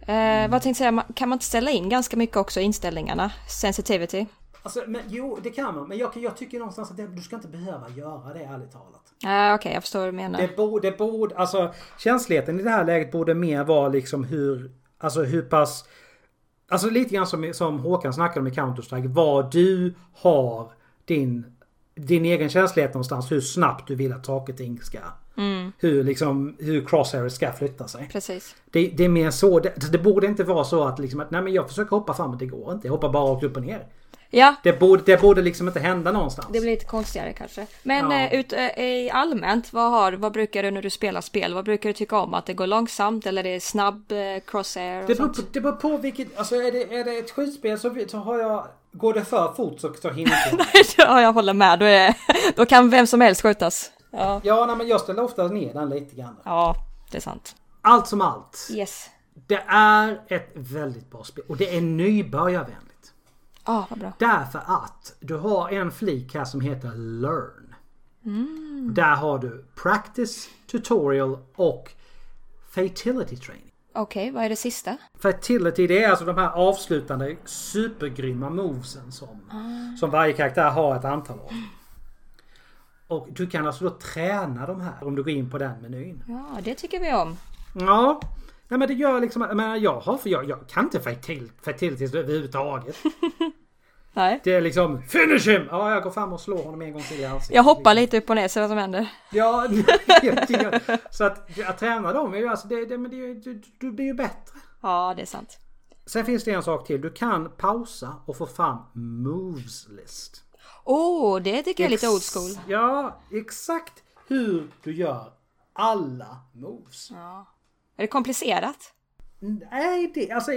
A: Eh, vad tänkte jag säga, man- kan man inte ställa in ganska mycket också i inställningarna? Sensitivity?
B: Alltså, men, jo, det kan man. Men jag, jag tycker någonstans att det, du ska inte behöva göra det ärligt talat.
A: Ja, okej, jag förstår vad du menar.
B: Det borde, det borde, alltså känsligheten i det här läget borde mer vara liksom hur, alltså hur pass, alltså lite grann som, som Håkan snackade om i Counter-Strike, vad du har din, din egen känslighet någonstans, hur snabbt du vill att saker och ting ska, hur liksom, hur crosshairs ska flytta sig.
A: Precis.
B: Det, det är mer så, det, det borde inte vara så att liksom att, nej men jag försöker hoppa framåt, det går inte, jag hoppar bara rakt upp och ner.
A: Ja,
B: Det borde, det borde liksom inte hända någonstans.
A: det blir lite konstigare kanske. Men
B: Ja.
A: eh, ut, eh, i allmänt, vad, har, vad brukar du när du spelar spel? Vad brukar du tycka om? Att det går långsamt eller det är snabb eh, crosshair? Och
B: Det beror,
A: sånt?
B: på, det beror på vilket, alltså är det, är det ett skjutspel så, så har jag, går det för fort så, så hinner jag inte.
A: ja, jag håller med. Då, är, då kan vem som helst skjutas. Ja.
B: Ja, nej, men jag ställer ofta ner den lite grann.
A: ja, det är sant.
B: Allt som allt.
A: Yes.
B: Det är ett väldigt bra spel och det är nybörjarvänligt.
A: Ja, Ah, vad bra.
B: Därför att du har en flik här som heter Learn. Där har du Practice, Tutorial och Fatality Training.
A: Okej, vad är det sista?
B: Fertility det är alltså de här avslutande supergrymma movesen som, som varje karaktär har ett antal av. Och du kan alltså då träna de här om du går in på den menyn.
A: Ja, det tycker vi om.
B: Ja, Nej men det gör liksom, jag menar, jag har, för jag, jag kan inte Fatal- Fatalities överhuvudtaget.
A: Nej.
B: Det är liksom Finish him! Ja, jag går fram och slår honom en gång till i ansiktet.
A: Jag hoppar lite upp och ner, ser vad som händer.
B: Ja, jag tycker- så att, att träna dem är ju alltså, det, det, men det, är ju- du, du blir ju bättre.
A: Ja, det är sant.
B: Sen finns det en sak till. Du kan pausa och få fram moves list.
A: Åh, oh, det tycker jag är lite old school.
B: Ja, exakt hur du gör alla moves.
A: Är det komplicerat?
B: Nej, det, alltså,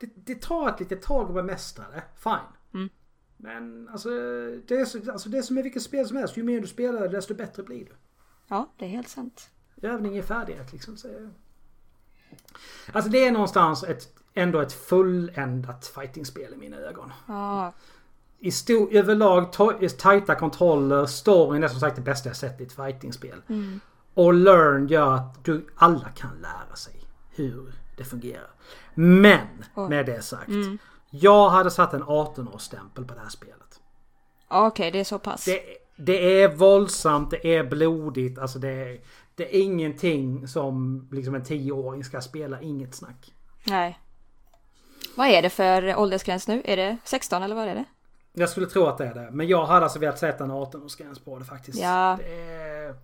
B: det, det tar ett litet tag att bemästra det. Fine.
A: Mm.
B: Men alltså det, är, så- alltså det är som med vilket spel som helst. Ju mer du spelar desto bättre blir du.
A: Ja, det är helt sant.
B: Övning är färdighet liksom. Så. Alltså det är någonstans ett, ändå ett fulländat fightingspel i mina ögon.
A: Ja,
B: I stor, överlag to- tajta kontroller, storyn är som sagt det bästa jag sett i ett fightingspel. Och learn gör att du, alla kan lära sig hur det fungerar. Men med det sagt. Jag hade satt en 18-årsstämpel på det här spelet.
A: okej, det är så pass.
B: Det, det är våldsamt, det är blodigt, alltså det är, det är ingenting som liksom en 10-åring ska spela, inget snack.
A: Nej. Vad är det för åldersgräns nu? Är det 16 eller vad är det?
B: Jag skulle tro att det är det, men jag hade alltså velat sätta en 18-årsgräns på det faktiskt.
A: Ja.
B: Det är...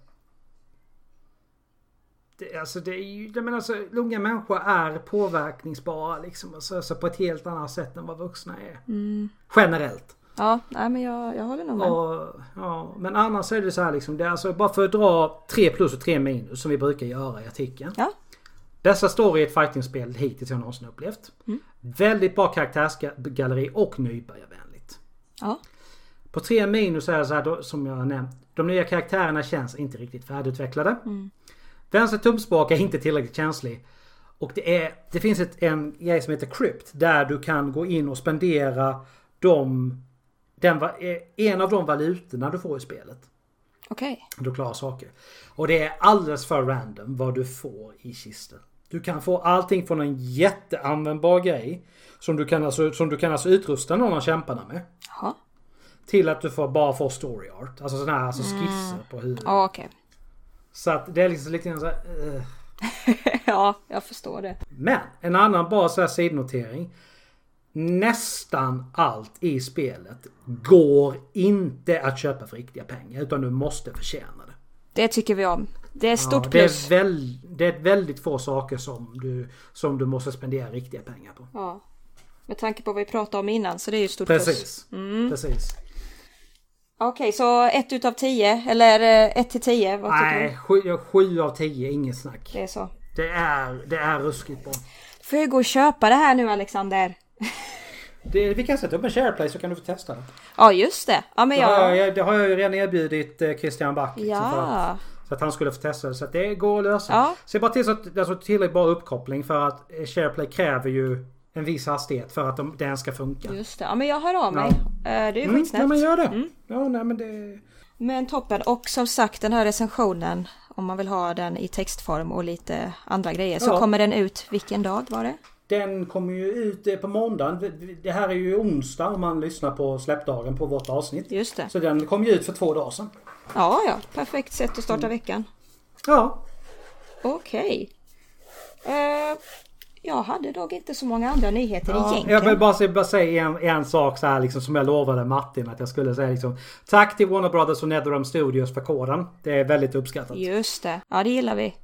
B: Det, alltså det är ju, jag menar alltså, unga människor är påverkningsbara liksom, alltså, alltså på ett helt annat sätt än vad vuxna är.
A: Mm.
B: Generellt.
A: Ja, nej men jag, jag håller nog med.
B: Och, ja, men annars är det så här liksom, det är alltså bara för att dra tre plus och tre minus som vi brukar göra i artikeln.
A: Ja,
B: Dessa står i ett fightingspel hittills jag någonsin upplevt.
A: Mm.
B: Väldigt bra karaktärsgalleri och nybörjarvänligt.
A: ja,
B: På 3 minus är det så här då, som jag har nämnt. De nya karaktärerna känns inte riktigt färdigutvecklade. Vänster tumspak är inte tillräckligt känslig. Och det, är, det finns ett, en grej som heter Crypt. Där du kan gå in och spendera de, den, va- eh, en av de valutorna du får i spelet.
A: okej.
B: Du klarar saker. Och det är alldeles för random vad du får i kisten. Du kan få allting från en jätteanvändbar grej. Som du kan alltså, som du kan alltså utrusta någon av kämparna med.
A: Jaha,
B: Till att du får bara får story art. Alltså sådana här alltså skisser på hur.
A: Mm. ja okej.
B: Så att det är liksom lite grann så här, eh.
A: ja, jag förstår det.
B: Men en annan bara så här sidnotering. Nästan allt i spelet går inte att köpa för riktiga pengar. Utan du måste förtjäna det.
A: Det tycker vi om. Det är stort
B: Ja, det,
A: plus.
B: är väl, det är väldigt få saker som du, som du måste spendera riktiga pengar på.
A: Ja. Med tanke på vad vi pratade om innan så det är ju ett stort plus.
B: Precis.
A: Mm.
B: Precis.
A: Okej, så 1 utav 10 eller 1 till 10? Vad tycker du?
B: Nej, sju, sju av tio, inget snack.
A: Det är så.
B: Det är, det är ruskigt bra.
A: Får jag gå och köpa det här nu Alexander?
B: Det, vi kan sätta upp en shareplay så kan du få testa det.
A: Ja, just det. Ja, men
B: Det har
A: jag...
B: jag, det har jag ju redan erbjudit eh, Christian Back. liksom, för
A: Ja.
B: att, så att han skulle få testa det. Så att det går att lösa.
A: Ja.
B: Se bara till så att alltså, tillräckligt bra uppkoppling för att eh, SharePlay kräver ju en viss hastighet för att de, den ska funka.
A: Just det. Ja, men jag hör av mig. Eh, Det är
B: Mm,
A: skitsnällt.
B: nej men gör det. Ja, nej, men det.
A: Men toppen. Och som sagt den här recensionen, om man vill ha den i textform och lite andra grejer, så
B: Ja.
A: kommer den ut vilken dag var det?
B: Den kommer ju ut eh, på måndagen. Vi- vi- Det här är ju onsdag om man lyssnar på släppdagen på vårt avsnitt.
A: Just det.
B: Så den kom ju ut för två dagar sedan.
A: Ja, ja. Perfekt sätt att
B: Mm.
A: starta veckan.
B: Ja,
A: Okej. Eh, jag hade nog inte så många andra nyheter
B: Ja, jag
A: egentligen.
B: vill bara, säga- bara säga en, en sak så här liksom, som jag lovade Martin att jag skulle säga. Liksom, tack till Warner Brothers och NetherRealm Studios för koden. Det är väldigt uppskattat.
A: Just det. Ja, det gillar vi.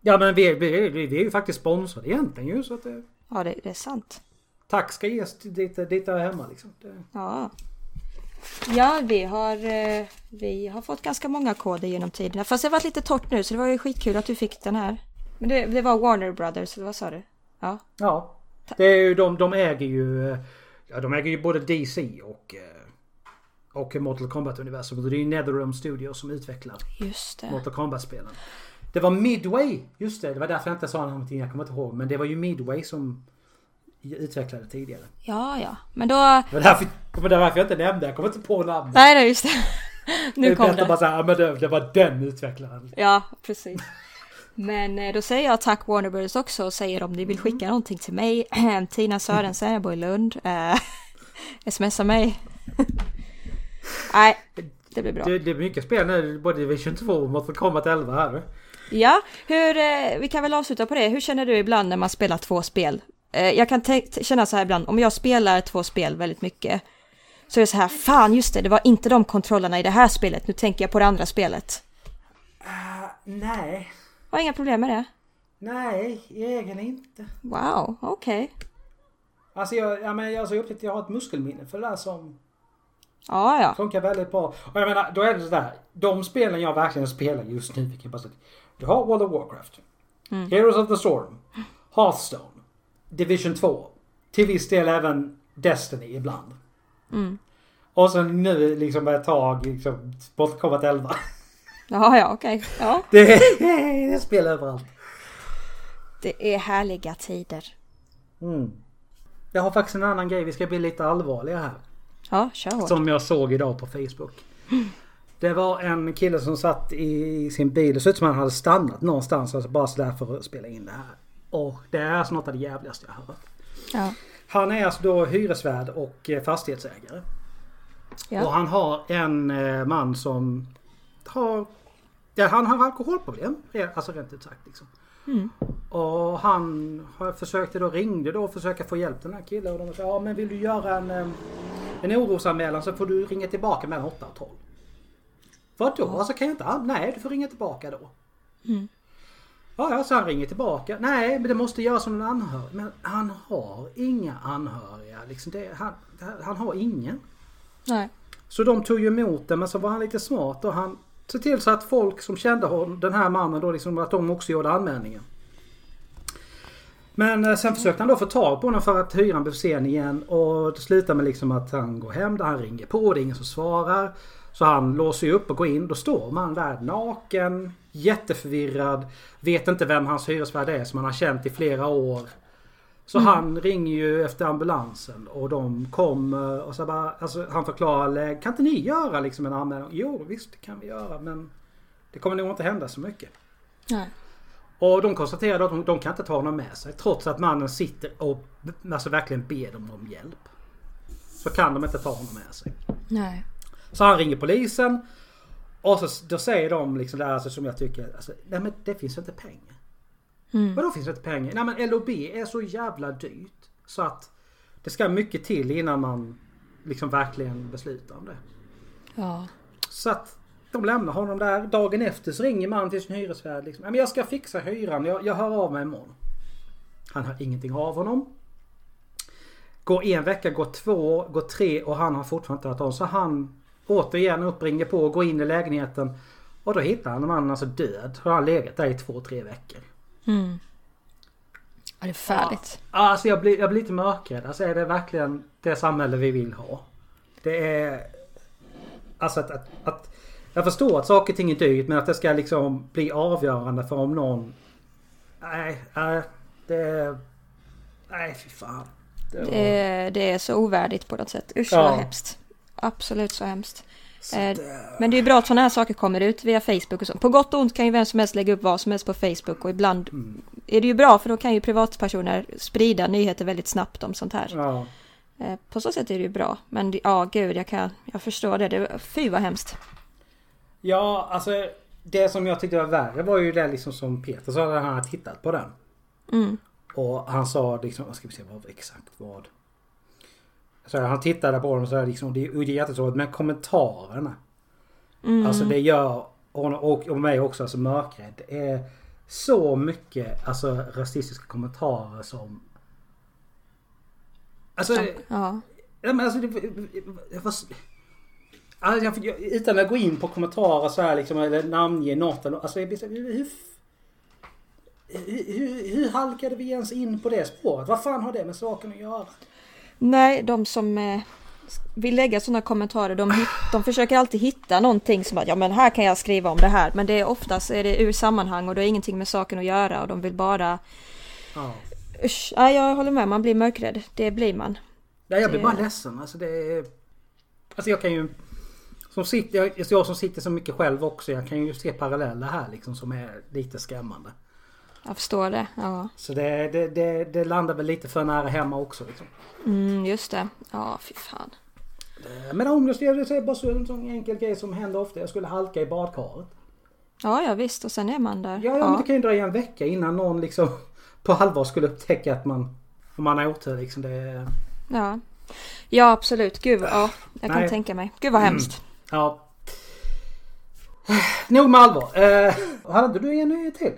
B: Ja men vi, vi, vi, vi är ju faktiskt sponsrade egentligen ju. Så att, eh,
A: Ja, det, det är sant.
B: tack ska ges till dit, dit där hemma liksom. Det,
A: Ja. Ja, vi har, eh, vi har fått ganska många koder genom tiden. Fast det har varit lite torrt nu så det var ju skitkul att du fick den här. Men det, det var Warner Brothers, eller vad sa du? Ja.
B: ja. Det är ju, de, de äger ju... eh, Ja, de äger ju både DC och... eh, Och Mortal Kombat-universum. Och Det är ju NetherRealm Studios som utvecklar
A: Just det.
B: Mortal Kombat-spelen. Det var Midway, just det. Det var därför jag inte sa någonting. Jag kommer inte ihåg. Men det var ju Midway som utvecklade tidigare.
A: Ja, ja. Men då...
B: Det var därför, det var därför jag inte nämnde. Jag kommer inte på namn.
A: Nej, nej, just det.
B: det
A: Nu
B: är
A: kom
B: bättre
A: det.
B: bara såhär, ja men det, det var den utvecklaren.
A: Ja, precis. Men eh, då säger jag tack Warner Brothers också och säger om ni
B: Mm.
A: vill skicka någonting till mig, Tina Sörensen, jag bor i Lund, eh, smsa mig. Nej, Det blir bra.
B: Det, det är mycket spel nu, både Division 2 och Mortal Kombat 11 här.
A: Ja, hur, eh, vi kan väl avsluta på det. Hur känner du ibland när man spelar två spel? Eh, jag kan te- te- känna så här ibland, om jag spelar två spel väldigt mycket så är det så här, fan just det, det var inte de kontrollerna i det här spelet, nu tänker jag på det andra spelet.
B: Nej,
A: Har inga problem med det.
B: nej, egentligen inte.
A: Wow, okej.
B: Alltså jag, jag, men, alltså jag upptäckte att jag har ett muskelminne för det där som
A: Ja, ja.
B: funkar väldigt bra. Och jag menar, då är det sådär. De spelen jag verkligen spelar just nu, vilket bara säga. Du har World of Warcraft. Heroes of the Storm. Hearthstone. Division 2. Till viss del även Destiny ibland. Och sen nu liksom ett tag, liksom, Mortal Kombat 11.
A: Ja, ja, okej. Ja.
B: Det är, det är spel överallt.
A: Det är härliga tider.
B: Mm. Jag har faktiskt en annan grej, vi ska bli lite allvarliga här.
A: Ja, kör hårt.
B: Som jag såg idag på Facebook. Det var en kille som satt i sin bil. Det såg ut som han hade stannat någonstans. Alltså bara sådär för att spela in det här. Och det är alltså något av det jävligaste jag har hört.
A: Ja,
B: Han är alltså då hyresvärd och eh, fastighetsägare. Och
A: ja.
B: han har en eh, man som har... Ja, han har alkoholproblem. re- Alltså rent ut sagt. Liksom. Och han har- försökte då, ringde då och försöka få hjälp den här killen. Och de sa ja men vill du göra en, eh, en orosanmälan så får du ringa tillbaka mellan 8 och 12. Vadå? Alltså kan jag inte? an- Nej, du får ringa tillbaka då. Ja, ja, så han ringer tillbaka. Nej, men det måste göras som en anhörig. Men han har inga anhöriga. Liksom det, han, han har ingen.
A: Nej.
B: Så de tog ju emot det men så var han lite smart och han såg till så att folk som kände honom, den här mannen då, liksom, att de också gjorde anmälningen. Men eh, sen försökte han då få tag på honom för att hyran blev sen igen och det slutar med liksom att han går hem där han ringer på, det är ingen som svarar. Så han låser ju upp och går in, då står man där naken, jätteförvirrad, vet inte vem hans hyresvärd är som han har känt i flera år. Så han ringer ju efter ambulansen och de kommer och så bara, alltså han förklarar läget. Kan inte ni göra liksom en anmälan? Jo visst det kan vi göra men det kommer nog inte hända så mycket.
A: Nej.
B: Och de konstaterade att de, de kan inte ta honom med sig trots att mannen sitter och alltså verkligen ber dem om hjälp. Så kan de inte ta honom med sig.
A: Nej.
B: Så han ringer polisen. Och så, då säger de liksom det här alltså, som jag tycker, alltså, nej men det finns inte pengar.
A: Mm.
B: Vadå finns det inte pengar? Nej men LOB är så jävla dyrt. Så att det ska mycket till innan man liksom verkligen beslutar om det.
A: Ja.
B: Så att de lämnar honom där. Dagen efter så ringer man till sin hyresvärd. Liksom. "Ja, Men jag ska fixa hyran. Jag, jag hör av mig imorgon. Han hör ingenting av honom. Går en vecka, går två, går tre och han har fortfarande inte hört av honom. Så han återigen uppringer på och går in i lägenheten. Och då hittar han mannen alltså död. Har han legat där i två, tre veckor.
A: Mm. Ja, det är färdigt.
B: Alltså jag blir, jag blir lite mörkrädd. Alltså är det verkligen det samhälle vi vill ha? Det är... Alltså att, att, att... Jag förstår att saker och ting är dyrt men att det ska liksom bli avgörande för om någon... Nej, nej. Det... Nej, fy fan. Det var-
A: Det, är, Eh, det är så ovärdigt på något sätt. Usch
B: Ja.
A: vad hemskt. Absolut så hemskt.
B: Så
A: Eh,
B: det-
A: Men det är ju bra att sådana här saker kommer ut via Facebook och så. På gott och ont kan ju vem som helst lägga upp vad som helst på Facebook och ibland är det ju bra för då kan ju privatpersoner sprida nyheter väldigt snabbt om sånt här.
B: Ja.
A: Eh, På så sätt är det ju bra. Men det- ja, gud, jag, kan, jag förstår det. det. Fy vad hemskt.
B: ja, alltså... Det som jag tyckte var värre var ju det liksom som Peter sa när han hade tittat på den.
A: Mm.
B: Och han sa liksom, vad ska vi se vad exakt vad. Så han tittade på dem och sa liksom, det är det är jättetråkigt men kommentarerna. Alltså det gör honom och, och mig också alltså mörkrädd. Det är så mycket alltså rasistiska kommentarer som... Alltså...
A: Ja,
B: Ja, men alltså, det, jag var, alltså jag, jag, utan att gå in på kommentarer så här liksom, eller namnge något. eller- Alltså, jag, blir så här, hur, hur, hur, hur halkade vi ens in på det spåret? Vad fan har det med saken att göra?
A: Nej, de som eh, vill lägga sådana kommentarer, de, hit- de försöker alltid hitta någonting som att ja men här kan jag skriva om det här. Men det är oftast är det ur sammanhang och det har ingenting med saken att göra och de vill bara...
B: Ja.
A: Usch, nej, jag håller med, man blir mörkrädd. Det blir man.
B: Nej, jag blir
A: Det-
B: bara ledsen. Alltså, det är, alltså jag kan ju... Som sitter, jag, jag som sitter så mycket själv också, jag kan ju se paralleller här liksom som är lite skrämmande.
A: Jag förstår det. Ja,
B: Så det, det, det, det landar väl lite för nära hemma också. Liksom.
A: mm, just det. Ja, fy fan.
B: Men ångest, det är bara så en sån enkel grej som händer ofta. Jag skulle halka i badkaret.
A: Ja, ja visst och sen är man där.
B: Ja, ja, Men det kan ju dröja en vecka innan någon liksom på allvar skulle upptäcka att man, om man har otur liksom. Det är...
A: ja. Ja, absolut. Gud, ja, jag kan
B: Nej. Mm.
A: tänka mig. Gud vad hemskt.
B: Ja. Nog med allvar. Eh, hade du en till?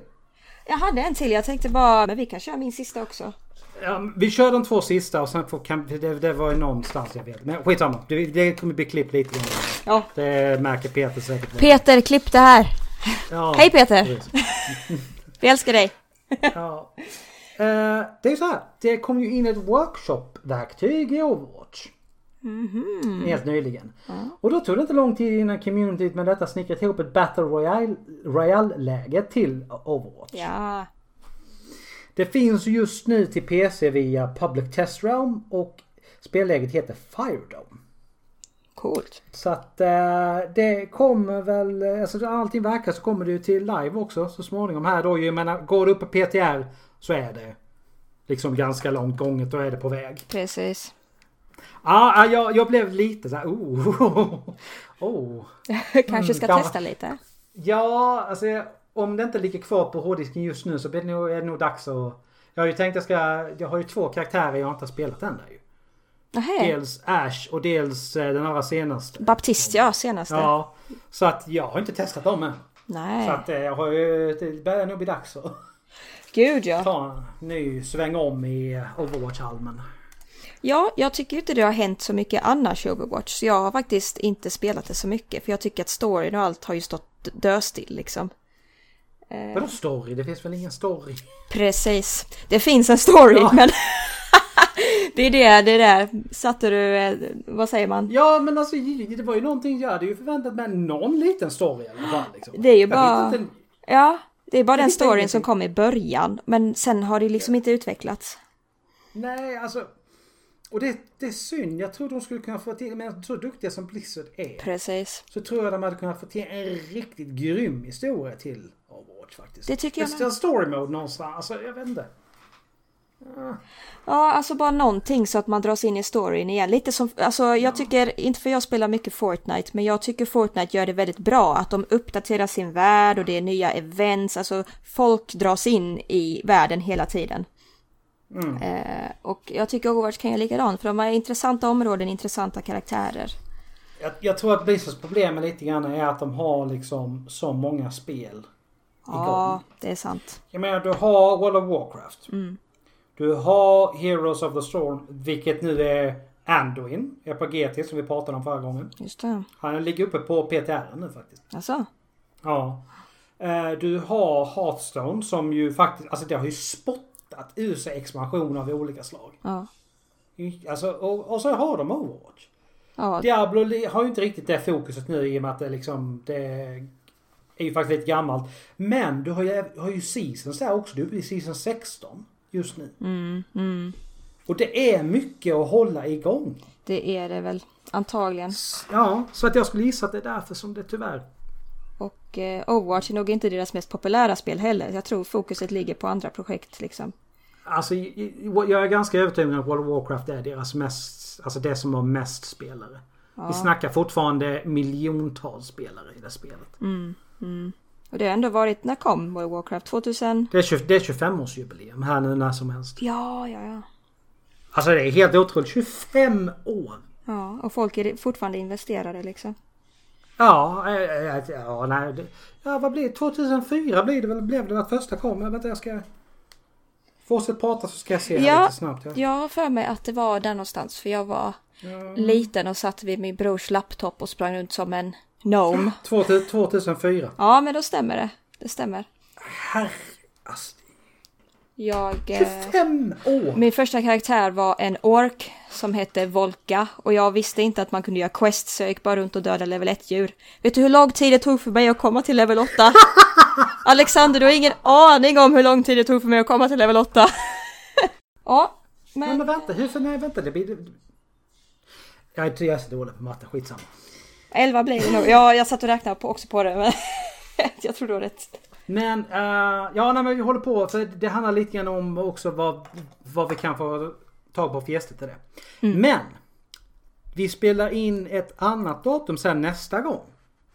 A: Jag hade en till. Jag tänkte bara, men vi kan köra min sista också.
B: Ja, vi kör de två sista och sen får, kan, det, det var ju någonstans jag vet. Men skitsamma. Det, det kommer bli klippt lite grann.
A: Ja.
B: Det märker Peter säkert.
A: Peter, klipp det här.
B: Ja, Mm.
A: Hej Peter!
B: precis.
A: Vi älskar dig.
B: Ja. Eh, det är så här. Det kom ju in ett workshop-verktyg i Overwatch. Helt nyligen. Och då tog det inte lång tid innan communityt med detta snickrat ihop ett Battle Royale- Royale-läge till Overwatch.
A: Ja.
B: Det finns just nu till PC via Public Test Realm och spelläget heter Firedome.
A: Coolt.
B: Så att eh, det kommer väl, alltså då allting verkar så kommer det ju till live också så småningom här då. ju. Jag menar, går det upp på PTR så är det liksom ganska långt gånget. Då är det på väg.
A: Precis.
B: Ah, ah, jag, jag blev lite så här, oh, oh.
A: Kanske ska
B: ja.
A: testa lite.
B: Ja, alltså om det inte ligger kvar på hårddisken just nu så blir det nog, är det nog dags att... Jag har ju tänkt jag ska, jag har ju två karaktärer jag inte har spelat än där ju.
A: Nähä.
B: Dels Ash och dels eh, den allra senaste.
A: Baptist ja, senaste.
B: Ja, så att jag har inte testat dem än.
A: Nej.
B: Så att eh, jag har ju, det börjar nog bli dags att
A: Gud ja.
B: ta en ny sväng om i eh, Overwatch-halmen.
A: Ja, jag tycker ju inte det har hänt så mycket annars i Overwatch. Så jag har faktiskt inte spelat det så mycket. För jag tycker att storyn och allt har ju stått döstill liksom.
B: Vadå story? Det finns väl ingen story?
A: Precis. Det finns en story
B: Ja.
A: men... det är det, det är det. Satte du, eh, vad säger man?
B: Ja men alltså det var ju någonting jag hade ju förväntat mig någon liten story i alla fall. Liksom.
A: Det är ju
B: Jag
A: bara-
B: vet inte-
A: Ja, det är bara den
B: finns det
A: storyn
B: ingenting.
A: som kom i början. Men sen har det liksom inte utvecklats.
B: Nej, alltså. Och det, det är synd. Jag tror de skulle kunna få till, men så duktiga som Blizzard är,
A: Precis.
B: så tror jag de hade kunnat få till en riktigt grym historia till Overwatch faktiskt.
A: Det tycker jag
B: med.
A: med.
B: En story mode någonstans, alltså jag vet inte.
A: Ja, alltså bara någonting så att man dras in i storyn igen. Lite som, alltså jag tycker, inte för jag spelar mycket Fortnite, men jag tycker Fortnite gör det väldigt bra. Att de uppdaterar sin värld och det är nya events, alltså folk dras in i världen hela tiden. Eh, och jag tycker Overwatch kan göra likadant, för de har intressanta områden, intressanta karaktärer.
B: Jag, jag tror att Blizzards problem är lite grann är att de har liksom så många spel.
A: Ja, det är sant.
B: Jag menar du har World of Warcraft. Du har Heroes of the Storm, vilket nu är Anduin, EPGT som vi pratade om förra gången.
A: Just det.
B: Han ligger uppe på PTR nu faktiskt.
A: Alltså,
B: Ja. Eh, Du har Hearthstone som ju faktiskt, alltså det har ju spottat ur sig expansion av olika slag.
A: ja.
B: Alltså, och, och så har de Overwatch.
A: Ja,
B: Diablo li- har ju inte riktigt det fokuset nu i och med att det liksom, det är ju faktiskt lite gammalt. Men du har ju, har ju Seasons där också, du är uppe i Season 16 just nu. Och det är mycket att hålla igång.
A: det är det väl. Antagligen.
B: Ja, så att jag skulle gissa att det är därför som det tyvärr
A: Och eh, Overwatch är nog inte deras mest populära spel heller. Jag tror fokuset ligger på andra projekt liksom.
B: Alltså, i- i- jag är ganska övertygad om att World of Warcraft är deras mest, alltså det som har mest spelare. Vi snackar fortfarande miljontals spelare i det spelet.
A: Och det har ändå varit, när kom World of Warcraft? 2000?
B: Det är, 20 det är 25-årsjubileum här nu när som helst.
A: Ja, ja, ja.
B: Alltså det är helt otroligt. 25 år!
A: Ja, och folk är fortfarande investerade liksom.
B: Ja, eh, eh, ja, nej, det- ja vad blir det? 2004 blir det väl, blev det att första kom. Jag, vet inte, jag ska... Fortsätt prata så ska jag se här
A: Ja,
B: lite snabbt. Ja.
A: Jag har för mig att det var där någonstans för jag var liten och satt vid min brors laptop och sprang runt som en gnome.
B: 2000 2004.
A: Ja, men då stämmer det. Det stämmer.
B: Herre... Alltså,
A: Jag... Eh...
B: 25 år!
A: Min första karaktär var en ork som hette Volka och jag visste inte att man kunde göra quests så jag gick bara runt och dödade level 1-djur. Vet du hur lång tid det tog för mig att komma till level 8? Alexander, du har ingen aning om hur lång tid det tog för mig att komma till level 8. ja,
B: Nej men
A: men...
B: vänta, hur för nej vänta det blir... Jag är jag är så dålig på matte, skitsamma.
A: 11 blir det nog. Ja, jag satt och räknade på, också på det men... jag tror du har rätt.
B: Men, eh, ja nej men vi håller på för det handlar lite grann om
A: Mm.
B: också vad, vad vi kan få tag på för gäster till det. Men! Vi spelar in ett annat datum sen nästa gång.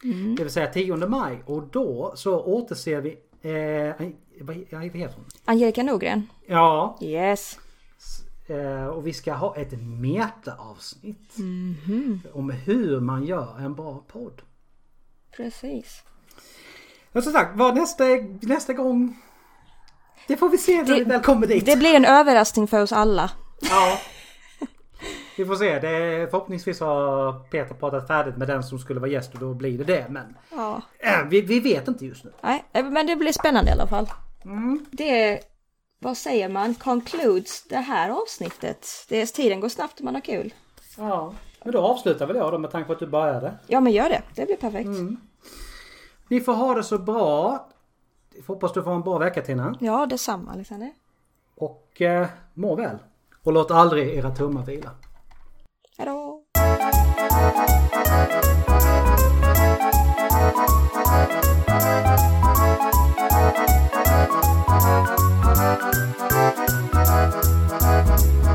A: Mm.
B: Det vill säga 10 maj och då så återser vi... Eh, vad, vad heter hon?
A: Angelica Norgren.
B: Ja,
A: Yes.
B: eh, och vi ska ha ett metaavsnitt.
A: Mm-hmm.
B: Om hur man gör en bra podd.
A: Precis.
B: Men som sagt, vad nästa, nästa gång... Det får vi se när
A: Det-
B: vi väl kommer dit.
A: Det blir en överraskning för oss alla.
B: Ja. Vi får se. Det, förhoppningsvis har Peter pratat färdigt med den som skulle vara gäst och då blir det det. Men
A: Ja.
B: eh, vi, vi vet inte just nu.
A: Nej, eh, men det blir spännande i alla fall. Det, vad säger man, concludes det här avsnittet. Det är, tiden går snabbt och man har kul.
B: Ja. Men då avslutar väl jag då med tanke på att du började.
A: Ja men gör det, det blir perfekt.
B: Ni får ha det så bra. Hoppas du får en bra vecka Tina.
A: Ja detsamma Alexander.
B: Och eh, må väl. Och låt aldrig era tummar vila.
A: Hejdå!